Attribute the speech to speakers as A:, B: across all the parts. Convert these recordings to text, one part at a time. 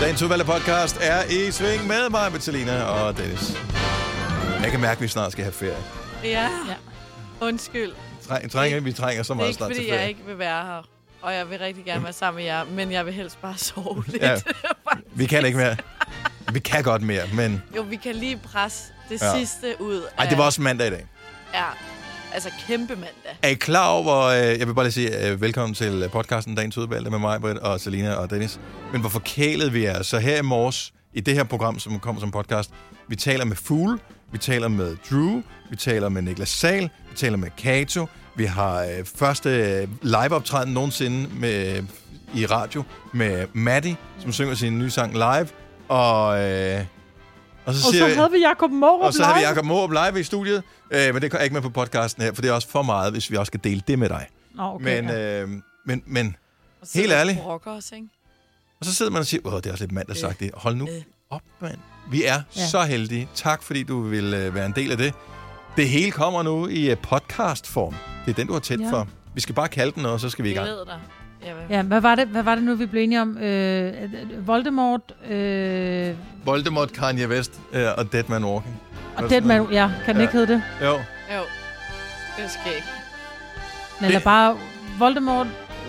A: Dagens udvalgte podcast er i sving med mig, Vitalina og Dennis. Jeg kan mærke, at vi snart skal have ferie.
B: Ja. ja. Undskyld.
A: Træ, trænger, vi trænger så
B: Det er
A: meget
B: ikke,
A: snart til
B: fordi
A: ferie. Mm.
B: jeg ikke vil være her. Og jeg vil rigtig gerne være sammen med jer, men jeg vil helst bare sove lidt.
A: Ja.
B: Ja.
A: Vi kan ikke mere. Vi kan godt mere, men...
B: jo, vi kan lige presse det
A: Ja.
B: ja. sidste ud.
A: Ej, det var også mandag i dag.
B: Ja, altså kæmpe mandag.
A: Er I klar over, øh, jeg vil bare lige sige øh, velkommen til øh, podcasten Dagens Udvalgte med mig, Britt og Selina og Dennis. Men hvor forkælet vi er. Så her i morges, i det her program, som kommer som podcast, vi taler med Fugle, vi taler med Drew, vi taler med Niklas Sal, vi taler med Kato, vi har øh, første øh, liveoptræden nogensinde med, øh, i radio med Maddie, som synger sin nye sang live, og... Øh, og så,
C: Og
A: siger
C: så
A: vi-
C: havde vi Jacob Morup
A: og så har vi
C: live.
A: Jacob Morup live i studiet, øh, men det er ikke med på podcasten her, for det er også for meget, hvis vi også skal dele det med dig.
C: Nå, okay.
A: Okay, men,
C: ja.
A: øh, men, men,
B: Og så sidder
A: Helt
B: vi og
A: ærligt.
B: brokker os, ikke?
A: og så sidder man og siger, åh, det er også lidt mand, der sagt det. Hold nu
B: Øh.
A: op, mand. Vi er
C: Ja.
A: så heldige. Tak, fordi du vil øh, være en del af det. Det hele kommer nu i øh, podcastform. Det er den, du har tæt
C: Ja.
A: for. Vi skal bare kalde den, og så skal vi i gang.
B: Glæd dig. Ja, hvad?
C: ja, hvad var, det, hvad var det nu, vi blev enige om? Øh, at- at Voldemort øh,
A: Voldemort, Kanye West øh, og Dead Man Walking.
C: og Deadman, ja, kan den
A: Ja.
C: ikke hedde det?
A: Jo.
B: Jo, det skal ikke.
C: Men det...
A: Det-
C: er bare Voldemort,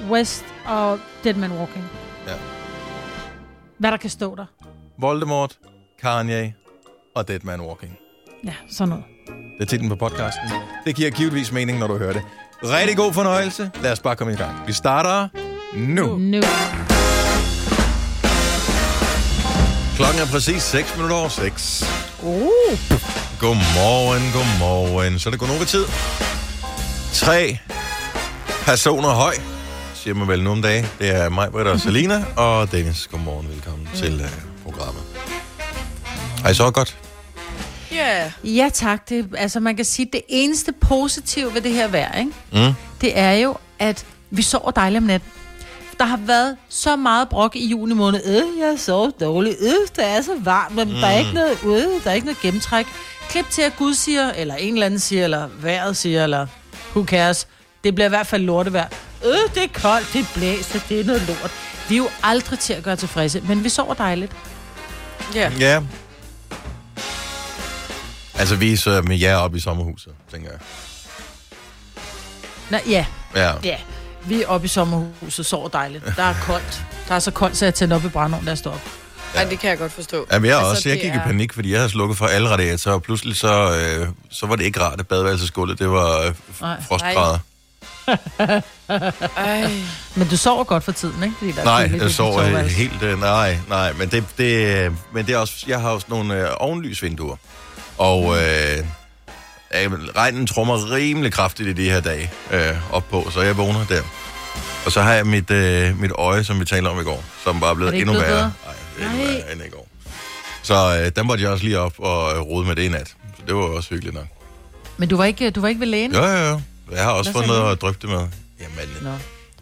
C: West og Deadman Walking.
A: Ja.
C: Hvad der kan stå der.
A: Voldemort, Kanye og Dead Man Walking.
C: Ja, sådan noget.
A: Det er titlen på podcasten. Det giver givetvis mening, når du hører det. Rigtig god fornøjelse. Lad os bare komme i gang. Vi starter nu.
C: Nu.
A: Klokken er præcis 6 minutter over 6.
C: Uh.
A: Godmorgen, godmorgen. Så er det kun over tid. Tre personer høj, siger man vel nogle dage. Det er mig, Britt og Selina, og Dennis. Godmorgen, velkommen mm. til uh, programmet. Har I så godt?
B: Ja,
D: Ja tak, det, altså man kan sige, det eneste positive ved det her vejr, ikke?
A: Mm.
D: det er jo, at vi sover dejligt om natten. Der har været så meget brok i juni måned. Øh, jeg sover dårligt. Øh, det er så varmt, men mm. der er ikke noget, øh, der er ikke noget gennemtræk. Klip til, at Gud siger, eller en eller anden siger, eller vejret siger, eller who cares. Det bliver i hvert fald lortevejr. Øh, det er koldt, det blæser, det er noget lort. Vi er jo aldrig til at gøre tilfredse, men vi sover dejligt.
B: ja.
A: Ja. Altså, vi er så med jer oppe i sommerhuset, tænker jeg.
D: Nå, ja,
A: Ja.
D: Ja, vi er oppe i sommerhuset, sover dejligt. Der er koldt. Der er så koldt, så jeg tænder op i brændeovnen, der står op.
B: Ej, det kan jeg godt forstå.
A: Jamen, jeg,
B: Altså,
A: altså, også, jeg
B: det
A: gik
B: er-
A: i panik, fordi jeg havde slukket for alle radiatorer, og pludselig så, øh, så var det ikke rart, at badeværelsesgulvet, det var øh, f-
D: Nej.
A: frostgrader.
B: Ej,
D: Men du sover godt for tiden, ikke? Fordi der er
A: Nej,
D: køligt i
A: jeg
D: dit
A: sover øh,
D: soveværelse.
A: helt... Øh, nej, nej, men det, det, øh, men det er også... Jeg har også nogle øh, ovenlysvinduer, og øh, øh, regnen trummer rimelig kraftigt i de her dage øh, op på, så jeg vågner der. Og så har jeg mit, øh, mit øje, som vi talte om i går, som bare er blevet
D: Er det ikke
A: endnu
D: blevet
A: værre.
D: bedre?
A: Nej, det er endnu
D: Nej.
A: værre end i går. Så øh, der måtte jeg også lige op og øh, rode med det i nat. Så det var jo også hyggeligt nok.
D: Men du var ikke, du var ikke ved lægen?
A: Jo, jo, jo. Jeg har også fået
D: Mm. Hvad sagde
A: noget
D: hun?
A: at drøfte med. Jamen,
D: Nå.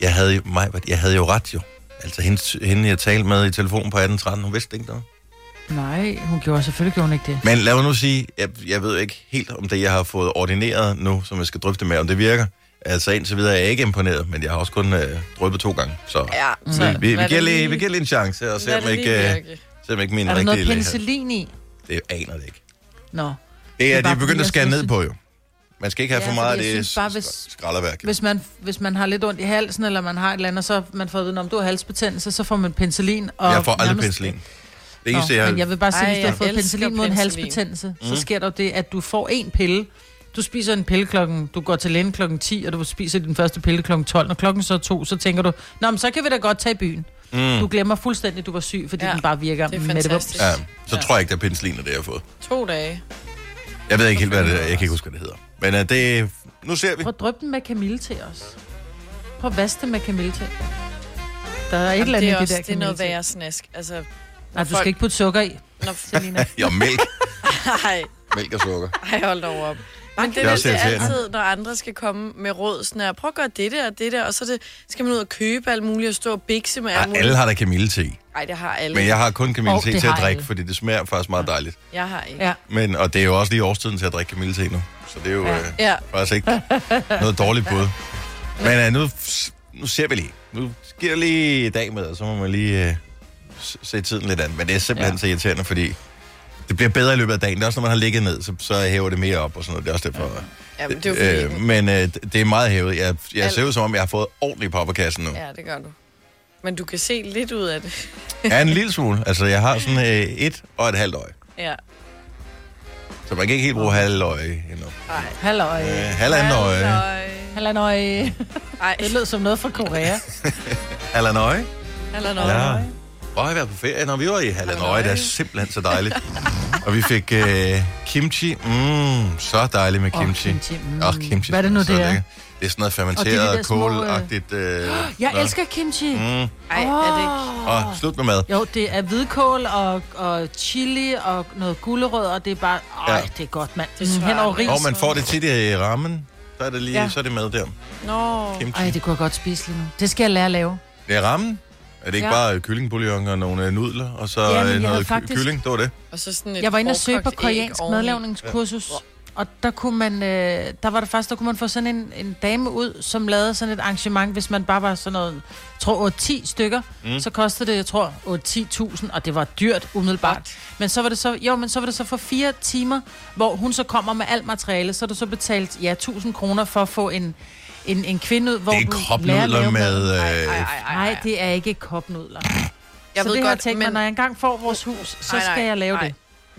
A: jeg havde, jo, mig, jeg havde jo ret jo. Altså hende, hende jeg talte med i telefonen på 1813, hun vidste ikke noget.
D: Nej, hun gjorde selvfølgelig gjorde hun ikke det.
A: Men lad mig nu sige, jeg, jeg ved ikke helt, om det, jeg har fået ordineret nu, som jeg skal drøfte med, om det virker. Altså indtil videre er jeg ikke imponeret, men jeg har også kun øh, drøbet to gange. Så
B: ja. Så
A: vi, vi, vi,
B: lad
A: giver
B: det
A: lige, vi giver lige en chance og ser,
B: lad
A: om
B: det
A: ikke,
B: lige
A: øh,
B: virke.
A: ser, om ikke min
D: Er der noget
A: rigtige læge her.
D: penicillin i?
A: Det aner det ikke.
D: Nå.
A: Det er,
D: er
A: de
D: bare
A: er begyndt
D: fordi,
A: at
D: jeg
A: skære
D: synes,
A: ned
D: at-
A: på jo. Man skal ikke have
D: Ja,
A: for meget af
D: fordi jeg
A: det
D: synes bare,
A: sk-
D: hvis-
A: skralderværk. jo.
D: Hvis man, hvis man har lidt ondt i halsen, eller man har et eller andet, så man får at vide, om du har halsbetændelse, så får man penicillin. Og
A: Jeg får aldrig
D: nærmest-
A: penicillin. Det
D: Nå,
A: eneste, jeg,
D: men jeg vil bare sige,
B: Ej,
D: hvis du har
B: jeg
D: fået
B: elsker
D: penicillin mod en
B: penicillin.
D: halsbetændelse, mm. så sker der jo det, at du får en pille. Du spiser en pille klokken, du går til lægen klokken 10, og du spiser din første pille klokken 12. Når klokken så er to, så tænker du, nå, men så kan vi da godt tage i byen. Mm. Du glemmer fuldstændig, at du var syg, fordi
B: Ja,
D: ja. den bare virker
B: det er
D: med det
B: fantastisk.
D: vums.
A: Ja, så tror jeg ikke, det er penicillin, det jeg har fået.
B: To dage.
A: Jeg ved ikke helt, hvad det er. Jeg kan ikke huske, hvad det hedder. Men uh, det... Nu ser vi.
D: Prøv at dryppe den med kamille til os. Prøv at vaske den med kamille til. Der er et eller andet
B: det er
D: i det
B: også
D: der
B: det er
D: kamille
B: noget
D: til.
B: værre snask. Altså,
D: Nej, du
B: folk-
D: skal ikke putte sukker i,
B: når...
D: Selina.
A: Ja, mælk.
B: Ej,
A: Mælk og sukker.
B: ej, hold dog op. Men det,
A: er
B: er
A: også
B: det er
A: irriterende.
B: altid, når andre skal komme med råd, sådan her, prøv at gøre det der og det der, og så er det, skal man ud og købe alt muligt og stå og bikse med alt
A: Ja,
B: muligt.
A: alle har da kamillete.
B: Ej, det har alle.
A: Men jeg har kun
D: Åh,
A: kamillete
D: det
A: til at
D: har
A: drikke,
D: alle.
A: fordi det smager faktisk meget dejligt.
B: Jeg har ikke.
D: Ja.
A: Men, og det er jo også lige årstiden til at drikke kamillete nu. Så det er jo øh,
B: Ja.
A: faktisk ikke noget dårligt bud. Men øh, nu, nu ser vi lige. Nu sker lige i dag med, og så må man lige øh, s- se tiden lidt an. Men det er simpelthen ja. så irriterende, fordi det bliver bedre i løbet af dagen. Det er også, når man har ligget ned, så, så hæver det mere op og sådan noget. Det er også derfor.
B: Jamen, det er jo fordi,
A: øh, men øh, det er meget hævet. Jeg, jeg
B: Alt.
A: ser ud som om, jeg har fået ordentligt popperkassen nu.
B: Ja, det gør du. Men du kan se lidt ud af det.
A: Ja, en lille smule. Altså, jeg har sådan øh, et og et halvt øje.
B: Ja.
A: Så man kan ikke helt bruge halvt øje endnu.
B: Ej.
D: Halløj.
A: Øh, halvandet øje.
D: Halløj.
B: Ej,
D: Det lød som noget fra Korea.
A: Halvandet øje.
B: eller
A: Ja.
B: noget.
A: Hvor har jeg været på ferie? Når vi var i Hallanøje,
B: Hallanøje.
A: det er simpelthen så dejligt. og vi fik øh, kimchi. Mm, så dejligt med
D: Åh,
A: kimchi.
D: kimchi, mm.
A: Åh, kimchi.
D: Hvad er det nu,
A: så
D: det er?
A: lækkert. Det er sådan noget
D: Og de der
A: fermenteret,
D: små, øh,
A: kålagtigt. Øh,
D: Jeg
A: noget.
D: elsker kimchi.
A: Mm.
B: Ej, er det ikke?
A: Og slut med mad.
D: Jo, det er hvidkål og, og chili og noget gulerød, og det er bare... Øj,
A: Ja.
D: ja. det er godt, mand.
B: Det
D: Mm, hen over
B: smager-
D: ris.
A: Og man får det tit i rammen. Så er det lige, ja.
D: Ja.
A: så er det med der.
B: Nå.
A: Kimchi.
D: Ej, det kunne jeg godt spise lige nu. Det skal jeg lære at lave.
A: Det er rammen. Er det ikke ja.
D: Ja.
A: bare kyllingbouillon og nogle øh, nudler, og så
D: Ja, men
A: øh,
D: jeg havde
A: noget ky-
D: faktisk-
A: kylling? Det var det.
B: Og så sådan et
D: Jeg var inde og søge på
B: hårdkogt æg
D: koreansk
B: oveni.
D: madlavningskursus, og der kunne man, øh, der var det faktisk, der kunne man få sådan en, en dame ud, som lavede sådan et arrangement, hvis man bare var sådan noget, jeg tror 8-10 stykker, mm. så kostede det, jeg tror, 8-10.000, og det var dyrt umiddelbart. Men så var det så, jo, men så var det så for fire timer, hvor hun så kommer med alt materiale, så er du så betalt, ja, 1000 kroner for at få en, en, en kvinde ud, hvor
A: Det er
D: du lærer at
A: kropnudler
D: lave mad.
A: med...
B: Ej, ej,
A: Øh,
B: ej, ej,
D: Nej, det er ikke kopnudler.
B: Jeg
D: Jeg så
B: ved
D: det har jeg
B: godt,
D: tænkt mig,
B: men-
D: når jeg engang får vores hus, så
B: Nej, nej,
D: skal jeg lave
B: nej.
D: det.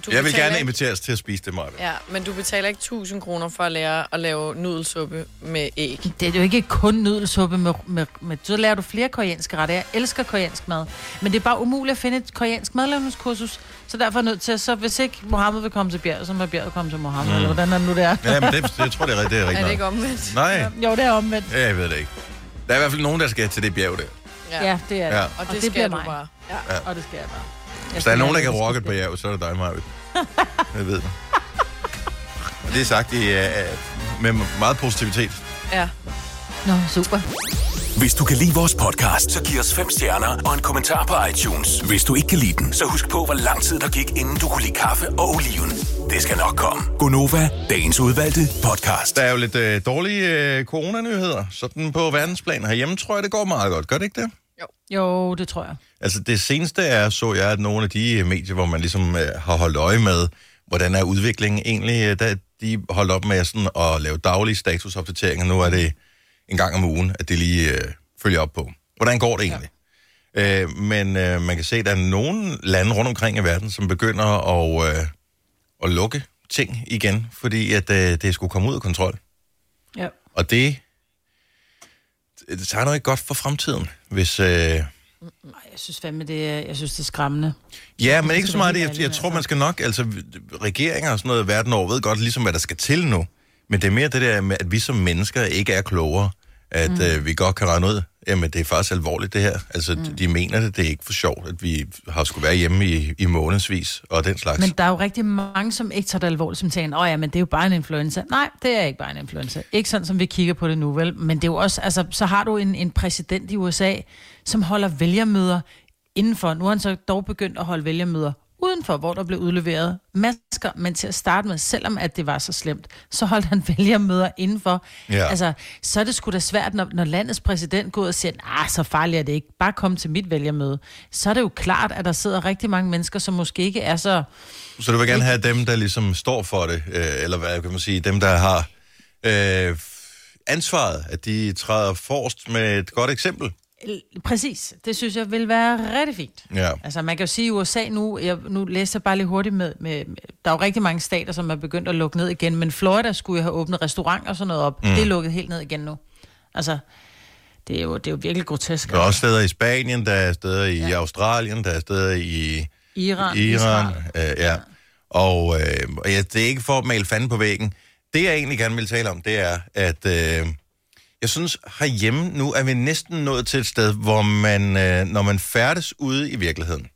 B: Du
A: jeg vil
B: betaler
A: gerne
B: ikke-
A: inviteres til at spise det, Maja.
B: Ja, men du betaler ikke 1000 kroner for at lære at lave nudelsuppe med æg.
D: Det er jo ikke kun nudelsuppe med, med, med... Så lærer du flere koreanske retter. Jeg elsker koreansk mad. Men det er bare umuligt at finde et koreansk madlavningskursus. Så derfor er jeg nødt til at... Så hvis ikke Mohammed vil komme til Bjerg, så må Bjerg komme til Mohammed. Mm. Eller hvordan er det nu, det er?
A: Ja, men det, det jeg tror jeg, det er rigtigt. Det er
B: Er det
A: rigtigt.
B: ikke
A: nok.
B: omvendt?
A: Nej,
D: Jo, det er omvendt.
A: Ja, jeg ved det ikke. Der er i hvert fald nogen, der skal til det bjerg der.
D: Ja, det er
A: Ja.
D: det. Ja.
B: Og
D: Og
B: det,
D: det
B: skal
D: bliver
B: du
D: mig.
B: bare.
D: Og det skal jeg bare. Jeg
A: Hvis der er
D: skal
A: nogen, der kan
D: lære
A: rocket
D: det.
A: på bjerget, så er det dig, Maja. Jeg ved det. Og det er sagt i, uh, med meget positivitet.
B: Ja.
D: Nå, super.
E: Hvis du kan lide vores podcast, så giv os fem stjerner og en kommentar på iTunes. Hvis du ikke kan lide den, så husk på, hvor lang tid der gik, inden du kunne lide kaffe og oliven. Det skal nok komme. Gonova, dagens udvalgte podcast.
A: Der er jo lidt øh, dårlige øh, coronanyheder. Sådan på verdensplan herhjemme, tror jeg, det går meget godt. Gør det ikke det?
D: Jo, det tror jeg.
A: Altså det seneste er, så jeg, at nogle af de øh, medier, hvor man ligesom øh, har holdt øje med, hvordan er udviklingen egentlig, øh, der, de holdt op med sådan at lave daglige statusopdateringer. Nu er det en gang om ugen, at det lige øh, følger op på. Hvordan går det egentlig? Ja. Øh, men øh, man kan se, at der er nogle lande rundt omkring i verden, som begynder at, øh, at lukke ting igen, fordi at øh, det skulle komme ud af kontrol.
D: Ja.
A: Og det, det tager noget ikke godt for fremtiden, hvis... Øh,
D: Ej, jeg synes fandme, det er, jeg synes, det er skræmmende.
A: Ja, men ikke
D: skal
A: så
D: være
A: meget.
D: helt
A: Jeg,
D: ærlig,
A: jeg tror,
D: altså.
A: man skal nok... Altså, regeringer og sådan noget verden over ved godt ligesom, hvad der skal til nu. Men det er mere det der med, at vi som mennesker ikke er klogere. At mm. øh, vi godt kan regne ud, jamen det er faktisk alvorligt det her. Altså, mm. de mener det. Det er ikke for sjovt, at vi har skulle være hjemme i, i månedsvis og den slags.
D: Men der er jo rigtig mange, som ikke tager det alvorligt, som tænker, åh ja, men det er jo bare en influenza. Nej, det er ikke bare en influenza. Ikke sådan, som vi kigger på det nu, vel? Men det er jo også, altså, så har du en, en præsident i USA, som holder vælgermøder indenfor. Nu har han så dog begyndt at holde vælgermøder udenfor, hvor der blev udleveret masker, men til at starte med, selvom at det var så slemt, så holdt han vælgermøder indenfor.
A: Ja.
D: Altså, så er det sgu da svært, når, når landets præsident går ud og siger, ah, så farligt er det ikke, bare kom til mit vælgermøde. Så er det jo klart, at der sidder rigtig mange mennesker, som måske ikke er så
A: Så du vil gerne have dem, der ligesom står for det, øh, eller hvad kan man sige, dem, der har øh, ansvaret, at de træder forrest med et godt eksempel.
D: L- Præcis. Det synes jeg vil være rigtig fint.
A: Ja.
D: Altså, man kan jo sige, at USA nu, jeg, nu læser jeg bare lige hurtigt med, med, med, der er jo rigtig mange stater, som er begyndt at lukke ned igen, men Florida skulle jo have åbnet restauranter og sådan noget op. Mm. Det er lukket helt ned igen nu. Altså, det er jo, det er jo virkelig grotesk.
A: Der er også steder i Spanien, der er steder i ja. Australien, der er steder i
D: Iran,
A: Iran.
D: Israel.
A: Øh, ja. Og, øh, og ja, det er ikke for at male fanden på væggen. Det, jeg egentlig gerne vil tale om, det er, at øh, jeg synes, herhjemme nu er vi næsten nået til et sted, hvor man, øh, når man færdes ude i virkeligheden,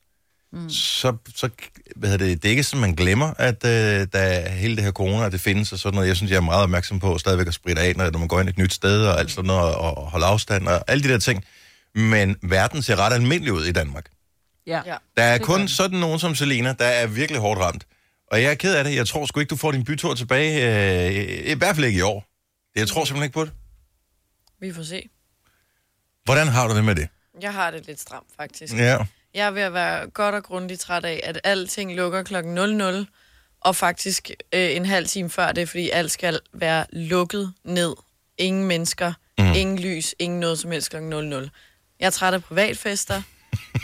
A: mm. så, så hvad hedder det, det er ikke sådan, man glemmer, at øh, der er hele det her corona, og det findes og sådan noget. Jeg synes, jeg er meget opmærksom på stadigvæk at spritte af, når når man går ind et nyt sted og alt sådan noget, og, og holde afstand og alle de der ting. Men verden ser ret almindelig ud i Danmark.
D: Ja.
B: Ja.
D: ja.
A: Der er kun sådan nogen som Selina, der er virkelig hårdt ramt. Og jeg er ked af det. Jeg tror sgu ikke, du får din bytur tilbage. Øh, I hvert fald ikke i år. Jeg tror simpelthen ikke på det.
B: Vi får se.
A: Hvordan har du det med det?
B: Jeg har det lidt stramt, faktisk.
A: Ja.
B: Jeg er ved at være godt og grundigt træt af, at alting lukker klokken 00, og faktisk øh, en halv time før det, fordi alt skal være lukket ned. Ingen mennesker, mm.
A: Mhm.
B: ingen lys, ingen noget som helst klokken 00. Jeg er træt af privatfester.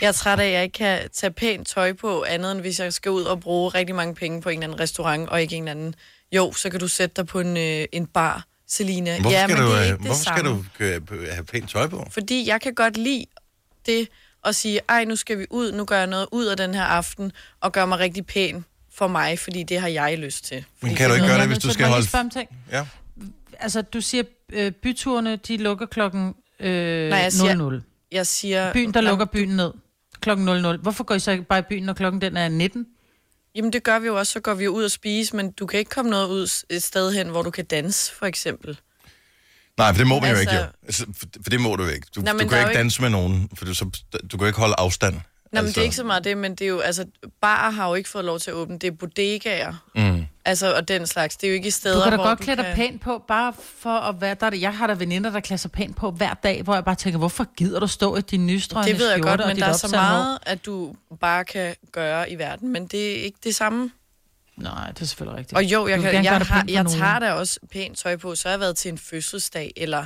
B: Jeg er træt af, at jeg ikke kan tage pænt tøj på, andet end hvis jeg skal ud og bruge rigtig mange penge på en eller anden restaurant, og ikke en eller anden... Jo, så kan du sætte dig på en, øh, en bar, Selina.
A: Hvorfor
B: ja,
A: skal,
B: men
A: du,
B: det er
A: øh,
B: ikke det
A: hvorfor skal
B: samme.
A: du øh, have pænt tøj på?
B: Fordi jeg kan godt lide det at sige, ej, nu skal vi ud, nu gør jeg noget ud af den her aften, og gør mig rigtig pæn for mig, fordi det har jeg lyst til. Fordi
A: kan du
B: er
A: ikke gøre
B: noget-
A: det, hvis du skal holde- Ja.
D: Altså, du siger, øh, byturene, de lukker klokken øh,
B: Nej, jeg siger- Øh,
D: 00.
B: Jeg siger...
D: Byen, der lukker byen ned klokken 00. Hvorfor går I så ikke bare i byen, når klokken den er 19?
B: Jamen, det gør vi jo også, så går vi jo ud og spise, men du kan ikke komme noget ud s- et sted hen, hvor du kan danse, for eksempel.
A: Nej, for det må man
B: Altså-
A: jo ikke, jo. Altså, for, for det må du jo ikke. Du,
B: Nej,
A: du
B: men
A: kan
B: der er
A: jo
B: jo
A: ikke
B: ikke-
A: danse med nogen, for du, så, du kan jo ikke holde afstand.
B: Nå, men det
A: Altså-
B: er ikke så meget det, men det er jo, altså, barer har jo ikke fået lov til at åbne, det er bodegaer,
A: Mm.
B: altså, og den slags. Det er jo ikke steder,
D: Du kan da
B: hvor
D: godt
B: du
D: klæde dig
B: kan...
D: pænt på, bare for at være der. er- Jeg har da veninder, der klæder sig pænt på hver dag, hvor jeg bare tænker, hvorfor gider du stå i din nystrøgne
B: Det ved jeg
D: skjorte
B: godt,
D: og
B: men
D: dit
B: der er så
D: opsatte hår?
B: meget, at du bare kan gøre i verden, men det er ikke det samme.
D: Nej, det er selvfølgelig rigtigt.
B: Og jo, jeg,
D: Du vil gerne
B: kan, jeg,
D: gøre det
B: har,
D: pænt for
B: jeg
D: nogen.
B: tager da også pænt tøj på, så har jeg været til en fødselsdag, eller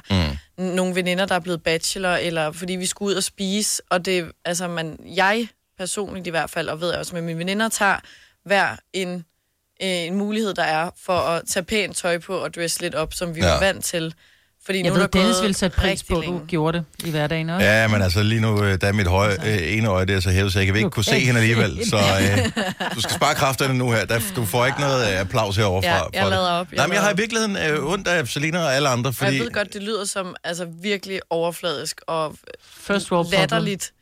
B: mm. nogle veninder, der er blevet bachelor, eller fordi vi skulle ud og spise, og det, altså man, jeg personligt i hvert fald, og ved jeg også med mine veninder, tager hver en, øh, en mulighed, der er for at tage pænt tøj på og dress lidt op, som vi
A: Ja.
B: ja. var vant til. Fordi
D: Jeg
B: nu er
D: ved,
B: der
D: Dennis
B: gået
D: ville sætte pris
B: rigtig
D: på, at
B: længe.
D: du gjorde det i hverdagen også.
A: Ja, men altså lige nu, øh, der er mit høje,
B: Altså.
A: øh, ene øje der, så hævet, så jeg kan ikke kunne se hende alligevel. Så øh, du skal spare kræfterne nu her. Der, du får ikke noget øh, applaus herovre
B: Ja,
A: fra.
B: jeg
A: for det.
B: lader op, jeg
A: Nej, men jeg
B: lader
A: har i
B: op.
A: virkeligheden øh, ondt af Selina og alle andre,
B: Og
A: fordi...
B: jeg ved godt, det lyder som altså, virkelig overfladisk og
D: First world problem.
B: latterligt.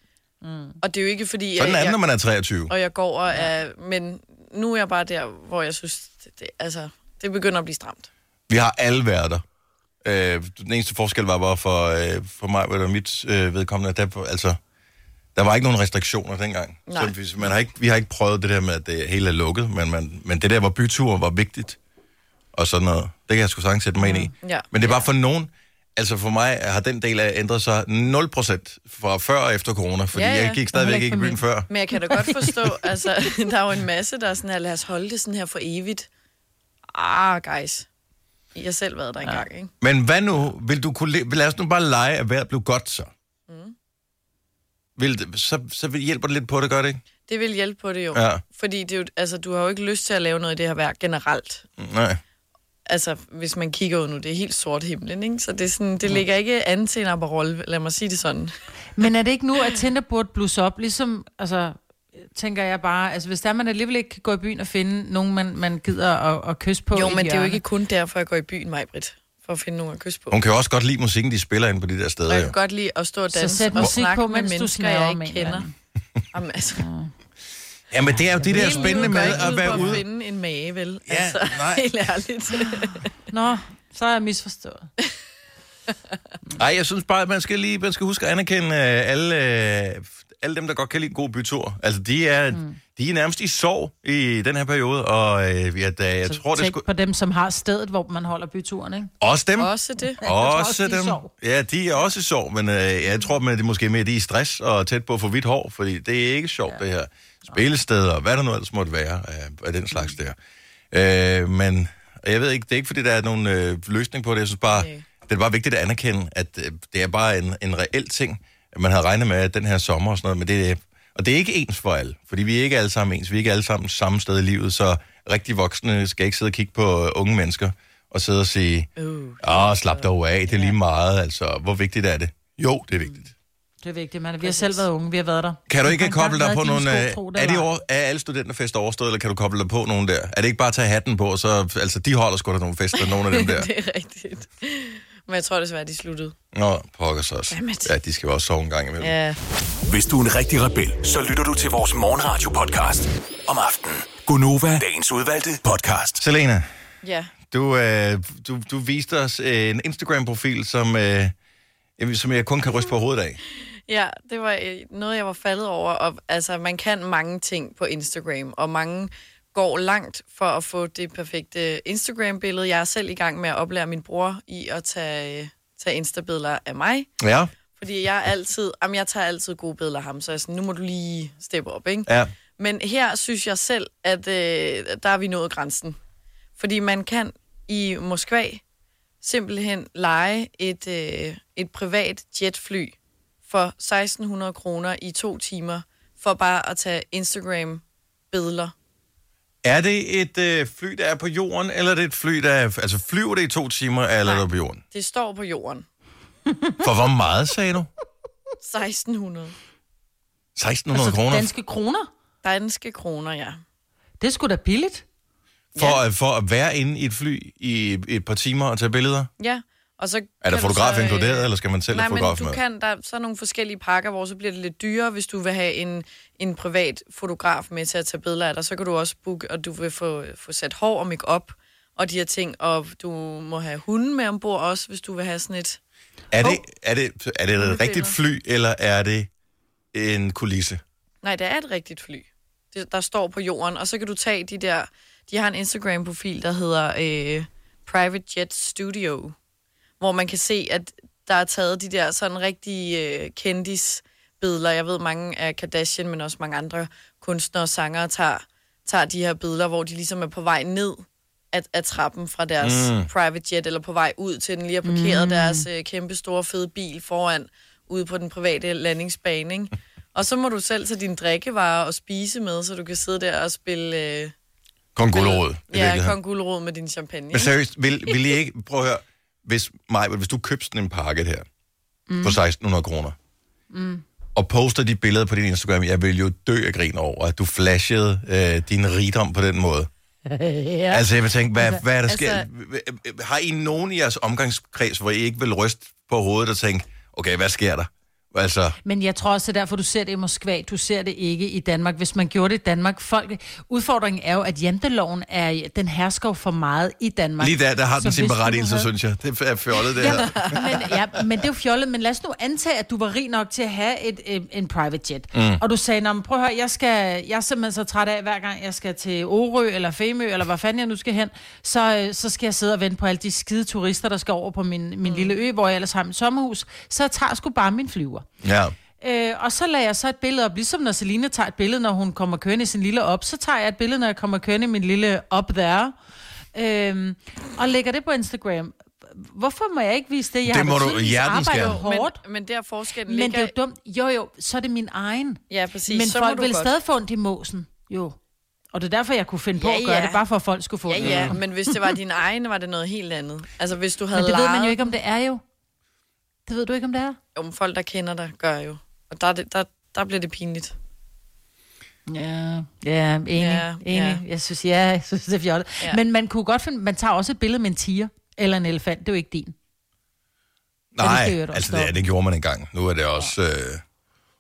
B: Mm. Og det er jo ikke fordi...
A: Sådan
B: jeg-
A: er det,
B: jeg-
A: når man er 23.
B: og jeg går og er... Men nu er jeg bare der, hvor jeg synes, det, det, altså, det begynder at blive stramt.
A: Vi har alle været der. Øh, den eneste forskel var bare for, øh, for mig og mit øh, vedkommende, at der, altså, der var ikke nogen restriktioner dengang.
B: Nej.
A: Så hvis man har ikke, vi har ikke prøvet det der med, at det hele er lukket, men, man, men det der, hvor byture var vigtigt og sådan noget, det kan jeg sgu sagtens sætte mig ind i.
B: Ja.
A: Men det er bare for nogen, altså for mig har den del af ændret sig 0% fra før og efter corona, fordi
B: Ja,
A: ja,
B: ja.
A: ja. jeg gik stadigvæk
D: Heller
A: ikke
D: ikke
A: i
D: for
A: byen
D: mig.
A: før.
B: Men jeg kan da godt forstå, altså, der er jo en masse, der er sådan her, lad os holde det sådan her for evigt. Ah, guys. I har selv været der engang, ikke?
A: Men hvad nu? Vil du kunne le- lad os nu bare lege, at vejret blev godt så. Mm. Vil det, så, så vil- hjælper det lidt på det, gør det ikke?
B: Det vil hjælpe på det jo.
A: Ja.
B: Fordi det er jo, altså, du har jo ikke lyst til at lave noget i det her vejr generelt.
A: Mm, Nej.
B: Altså, hvis man kigger ud nu, det er helt sort himlen, ikke? Så det, er sådan, det ligger ikke an til en Aperol, lad mig sige det sådan.
D: Men er det ikke nu, at Tinder burde blusse op? Ligesom, altså, tænker jeg bare, altså hvis der man alligevel ikke kan gå i byen og finde nogen, man, man gider at, at kysse på.
B: Jo,
D: i et
B: men det er jo
D: hjørne.
B: ikke kun derfor, jeg går i byen, Majbrit. For at finde nogen at kysse på.
A: Hun kan jo også godt lide musikken, de spiller inde på de der
B: Og
A: steder.
B: jeg
A: Jo.
B: kan godt lide at stå og
D: Så
B: danse
D: sæt
B: og
D: musik
B: snakke
D: på,
B: med
D: mens du
B: mennesker,
D: snaver
B: jeg
D: med en
B: ikke kender.
D: eller Mm.
B: Jamen, altså,
A: Ja, men det er jo det der
B: hele livet
A: spændende
B: går
A: med
B: ikke ud
A: at være
B: på
A: ude.
B: at finde en mage, vel?
A: Ja,
B: altså,
A: nej.
B: Helt ærligt.
D: Nå, så er jeg misforstået.
A: Nej, jeg synes bare, at man skal, lige, man skal huske at anerkende øh, alle, øh, alle dem, der godt kan lide en god bytur. Altså, de er, mm. de er nærmest i sorg i den her periode, og øh, ja, da, jeg
D: Så
A: tror, det
D: Altså, tænk
A: skulle...
D: på dem, som har stedet, hvor man holder byturen, ikke?
A: Også dem.
B: Også det.
D: tror
A: Også,
D: også, de er i
A: dem.
D: sorg.
A: Ja, de er også i sorg, men øh, jeg tror, at det måske mere de er i stress og tæt på at få hvidt hår, fordi det er ikke sjovt, ja. det her. Spillesteder og hvad der nu ellers måtte være af, af den slags der. Øh, men og jeg ved ikke, det er ikke, fordi der er nogen øh, løsning på det. Jeg synes bare,
B: Nej.
A: det er bare vigtigt at anerkende, at øh, det er bare en, en reel ting, at man havde regnet med at den her sommer og sådan noget, men det er, og det er ikke ens for alle, fordi vi er ikke alle sammen ens. Vi er ikke alle sammen samme sted i livet, så rigtig voksne skal ikke sidde og kigge på øh, unge mennesker og sidde og sige,
B: Uh,
A: Åh, oh, slap dog af, det er lige meget, altså. Hvor vigtigt er det? Jo, det er vigtigt.
D: Det er vigtigt, man. Vi har selv været unge, vi har været der.
A: Kan du
D: Har
A: ikke
D: engang
A: koble dig
D: været
A: på
D: i
A: nogle...
D: dine
A: øh,
D: skotro, der
A: Er, det
D: var-
A: over, er alle studenterfester overstået, eller kan du koble dig på nogen der? Er det ikke bare at tage hatten på, og så... Altså, de holder sgu da nogle fester, nogle af dem der.
B: det er rigtigt. Men jeg tror desværre, de sluttede.
A: Nå, pokker så også.
B: Dammit.
A: Ja, de skal jo også sove en gang imellem.
B: Ja.
E: Hvis du er en rigtig rebel, så lytter du til vores morgenradio-podcast om aftenen. Gunova, dagens udvalgte podcast.
A: Selena,
B: Ja.
A: du, øh, du, du viste os øh, en Instagram-profil, som, øh, jamen, som jeg kun kan ryste på hovedet af.
B: Ja, det var øh, noget, jeg var faldet over. Og, altså, man kan mange ting på Instagram, og mange går langt for at få det perfekte Instagram-billede. Jeg er selv i gang med at oplære min bror i at tage, øh, tage Insta-billeder af mig,
A: Ja,
B: Fordi jeg er altid, jamen jeg tager altid gode billeder af ham, så jeg er sådan, nu må du lige steppe op, ikke?
A: Ja.
B: Men her synes jeg selv, at øh, der er vi nået grænsen. Fordi man kan i Moskva simpelthen lege et, øh, et privat jetfly for 1600 kroner i to timer, for bare at tage Instagram-billeder.
A: Er det et øh, fly, der er på jorden, eller er det et fly, der er... Altså, flyver det i to timer, eller er det på jorden?
B: Det står på jorden.
A: For hvor meget, sagde du?
B: 1600.
A: 1600 altså, kroner
D: Danske kroner.
B: Danske kroner, ja.
D: Det er sgu da billigt.
A: for, at, for at være inde i et fly i et par timer og tage billeder?
B: Ja, og så
A: Er der
B: kan du
A: fotograf
B: så, øh,
A: inkluderet, eller skal man selv have
B: Nej, men
A: fotograf
B: du
A: med?
B: kan, der er så nogle forskellige pakker, hvor så bliver det lidt dyrere, hvis du vil have en, en privat fotograf med til at tage billeder af dig. Så kan du også booke, og du vil få, få sat hår og make op og de her ting. Og du må have hunden med ombord også, hvis du vil have sådan et...
A: Er det, er det, er det et rigtigt
B: billeder.
A: fly, eller er det en kulisse?
B: Nej, det er et rigtigt fly, det, der står på jorden. Og så kan du tage de der... De har en Instagram-profil, der hedder øh, Private Jet Studio, hvor man kan se, at der er taget de der sådan rigtige øh, kendis billeder. Jeg ved, mange af Kardashian, men også mange andre kunstnere og sangere tager, tager de her billeder, hvor de ligesom er på vej ned af, af trappen fra deres mm. private jet, eller på vej ud til den, lige har parkeret mm. deres øh, kæmpe store fede bil foran, ude på den private landingsbane, ikke? Og så må du selv tage dine drikkevarer og spise med, så du kan sidde der og spille... Øh,
A: Kong Gulerod. i
B: ja,
A: virkeligheden.
B: Kong Gulerod med din champagne.
A: Men
B: ikke?
A: seriøst, vil, vil I ikke... Prøv at høre. Hvis, Maj, hvis du købte sådan en pakke her, mm. for 1600 kroner, mm. og poster de billeder på din Instagram, jeg vil jo dø af grin over, at du flashede øh, din rigdom på den måde.
D: ja.
A: Altså, jeg vil tænke, hvad, hvad er der sker?
B: altså-
A: Altså... Har I nogen i jeres omgangskreds, hvor I ikke vil ryste på hovedet og tænke, okay, hvad sker der? Altså,
D: Men jeg tror også, det er derfor, du ser det i Moskva. Du ser det ikke i Danmark. Hvis man gjorde det i Danmark, folk... Udfordringen er jo, at janteloven er... Den hersker jo for meget i Danmark.
A: lige der, der har den
D: Så
A: sin
D: hvis du
A: berettigelse,
D: havde-
A: synes jeg. Det er fjollet, det her.
D: Ja, men, ja, men det er jo fjollet. Men lad os nu antage, at du var rig nok til at have et, øh, en private jet. Mm. Og du sagde, "Nå, men prøv at høre, jeg, skal, jeg er simpelthen så træt af, hver gang jeg skal til Orø eller Femø, eller hvor fanden jeg nu skal hen, så, øh, så skal jeg sidde og vente på alle de skide turister, der skal over på min, min mm. lille ø, hvor jeg ellers har mit sommerhus. Så jeg tager sgu bare min flyver.
A: Ja.
D: Øh, og så lader jeg så et billede op, ligesom når Selina tager et billede, når hun kommer kørende i sin lille op, så tager jeg et billede, når jeg kommer kørende i min lille op der, øhm, og lægger det på Instagram. Hvorfor må jeg ikke vise det? Jeg
A: Det
D: har da
A: må du
D: tydeligvis
A: hjertens
D: arbejdet
A: gerne.
D: hårdt.
B: Men, men der forskellen
D: Men, men det er
B: ligger...
D: jo dumt. Jo, jo, så er det min egen.
B: Ja, præcis.
D: men
B: så må
D: folk
B: du
D: vil
B: godt.
D: stadig få ondt i måsen. Jo. Og det er derfor, jeg kunne finde på
B: Ja,
D: at gøre
B: ja.
D: det, bare for at folk skulle få
B: Ja,
D: ondt i
B: ja,
D: måsen.
B: men hvis det var din egen, var det noget helt andet. Altså, hvis du havde
D: Mm. Men det ved man
B: lejet-
D: jo ikke, om det er jo. Det ved du ikke, om det er.
B: Om folk, der kender dig, gør jo. Og der, er det- der, der bliver det pinligt.
D: Ja, ja, enig,
B: Ja,
D: ja, enig.
B: ja.
D: Jeg synes, ja, jeg synes, det er fjollet.
B: Ja.
D: Ja. Men man kunne godt finde, man tager også et billede med en tiger eller en elefant, det er jo ikke din. det
A: Nej,
D: skal jeg da
A: altså
D: også
A: det, det gjorde man engang. Nu er det også, øh,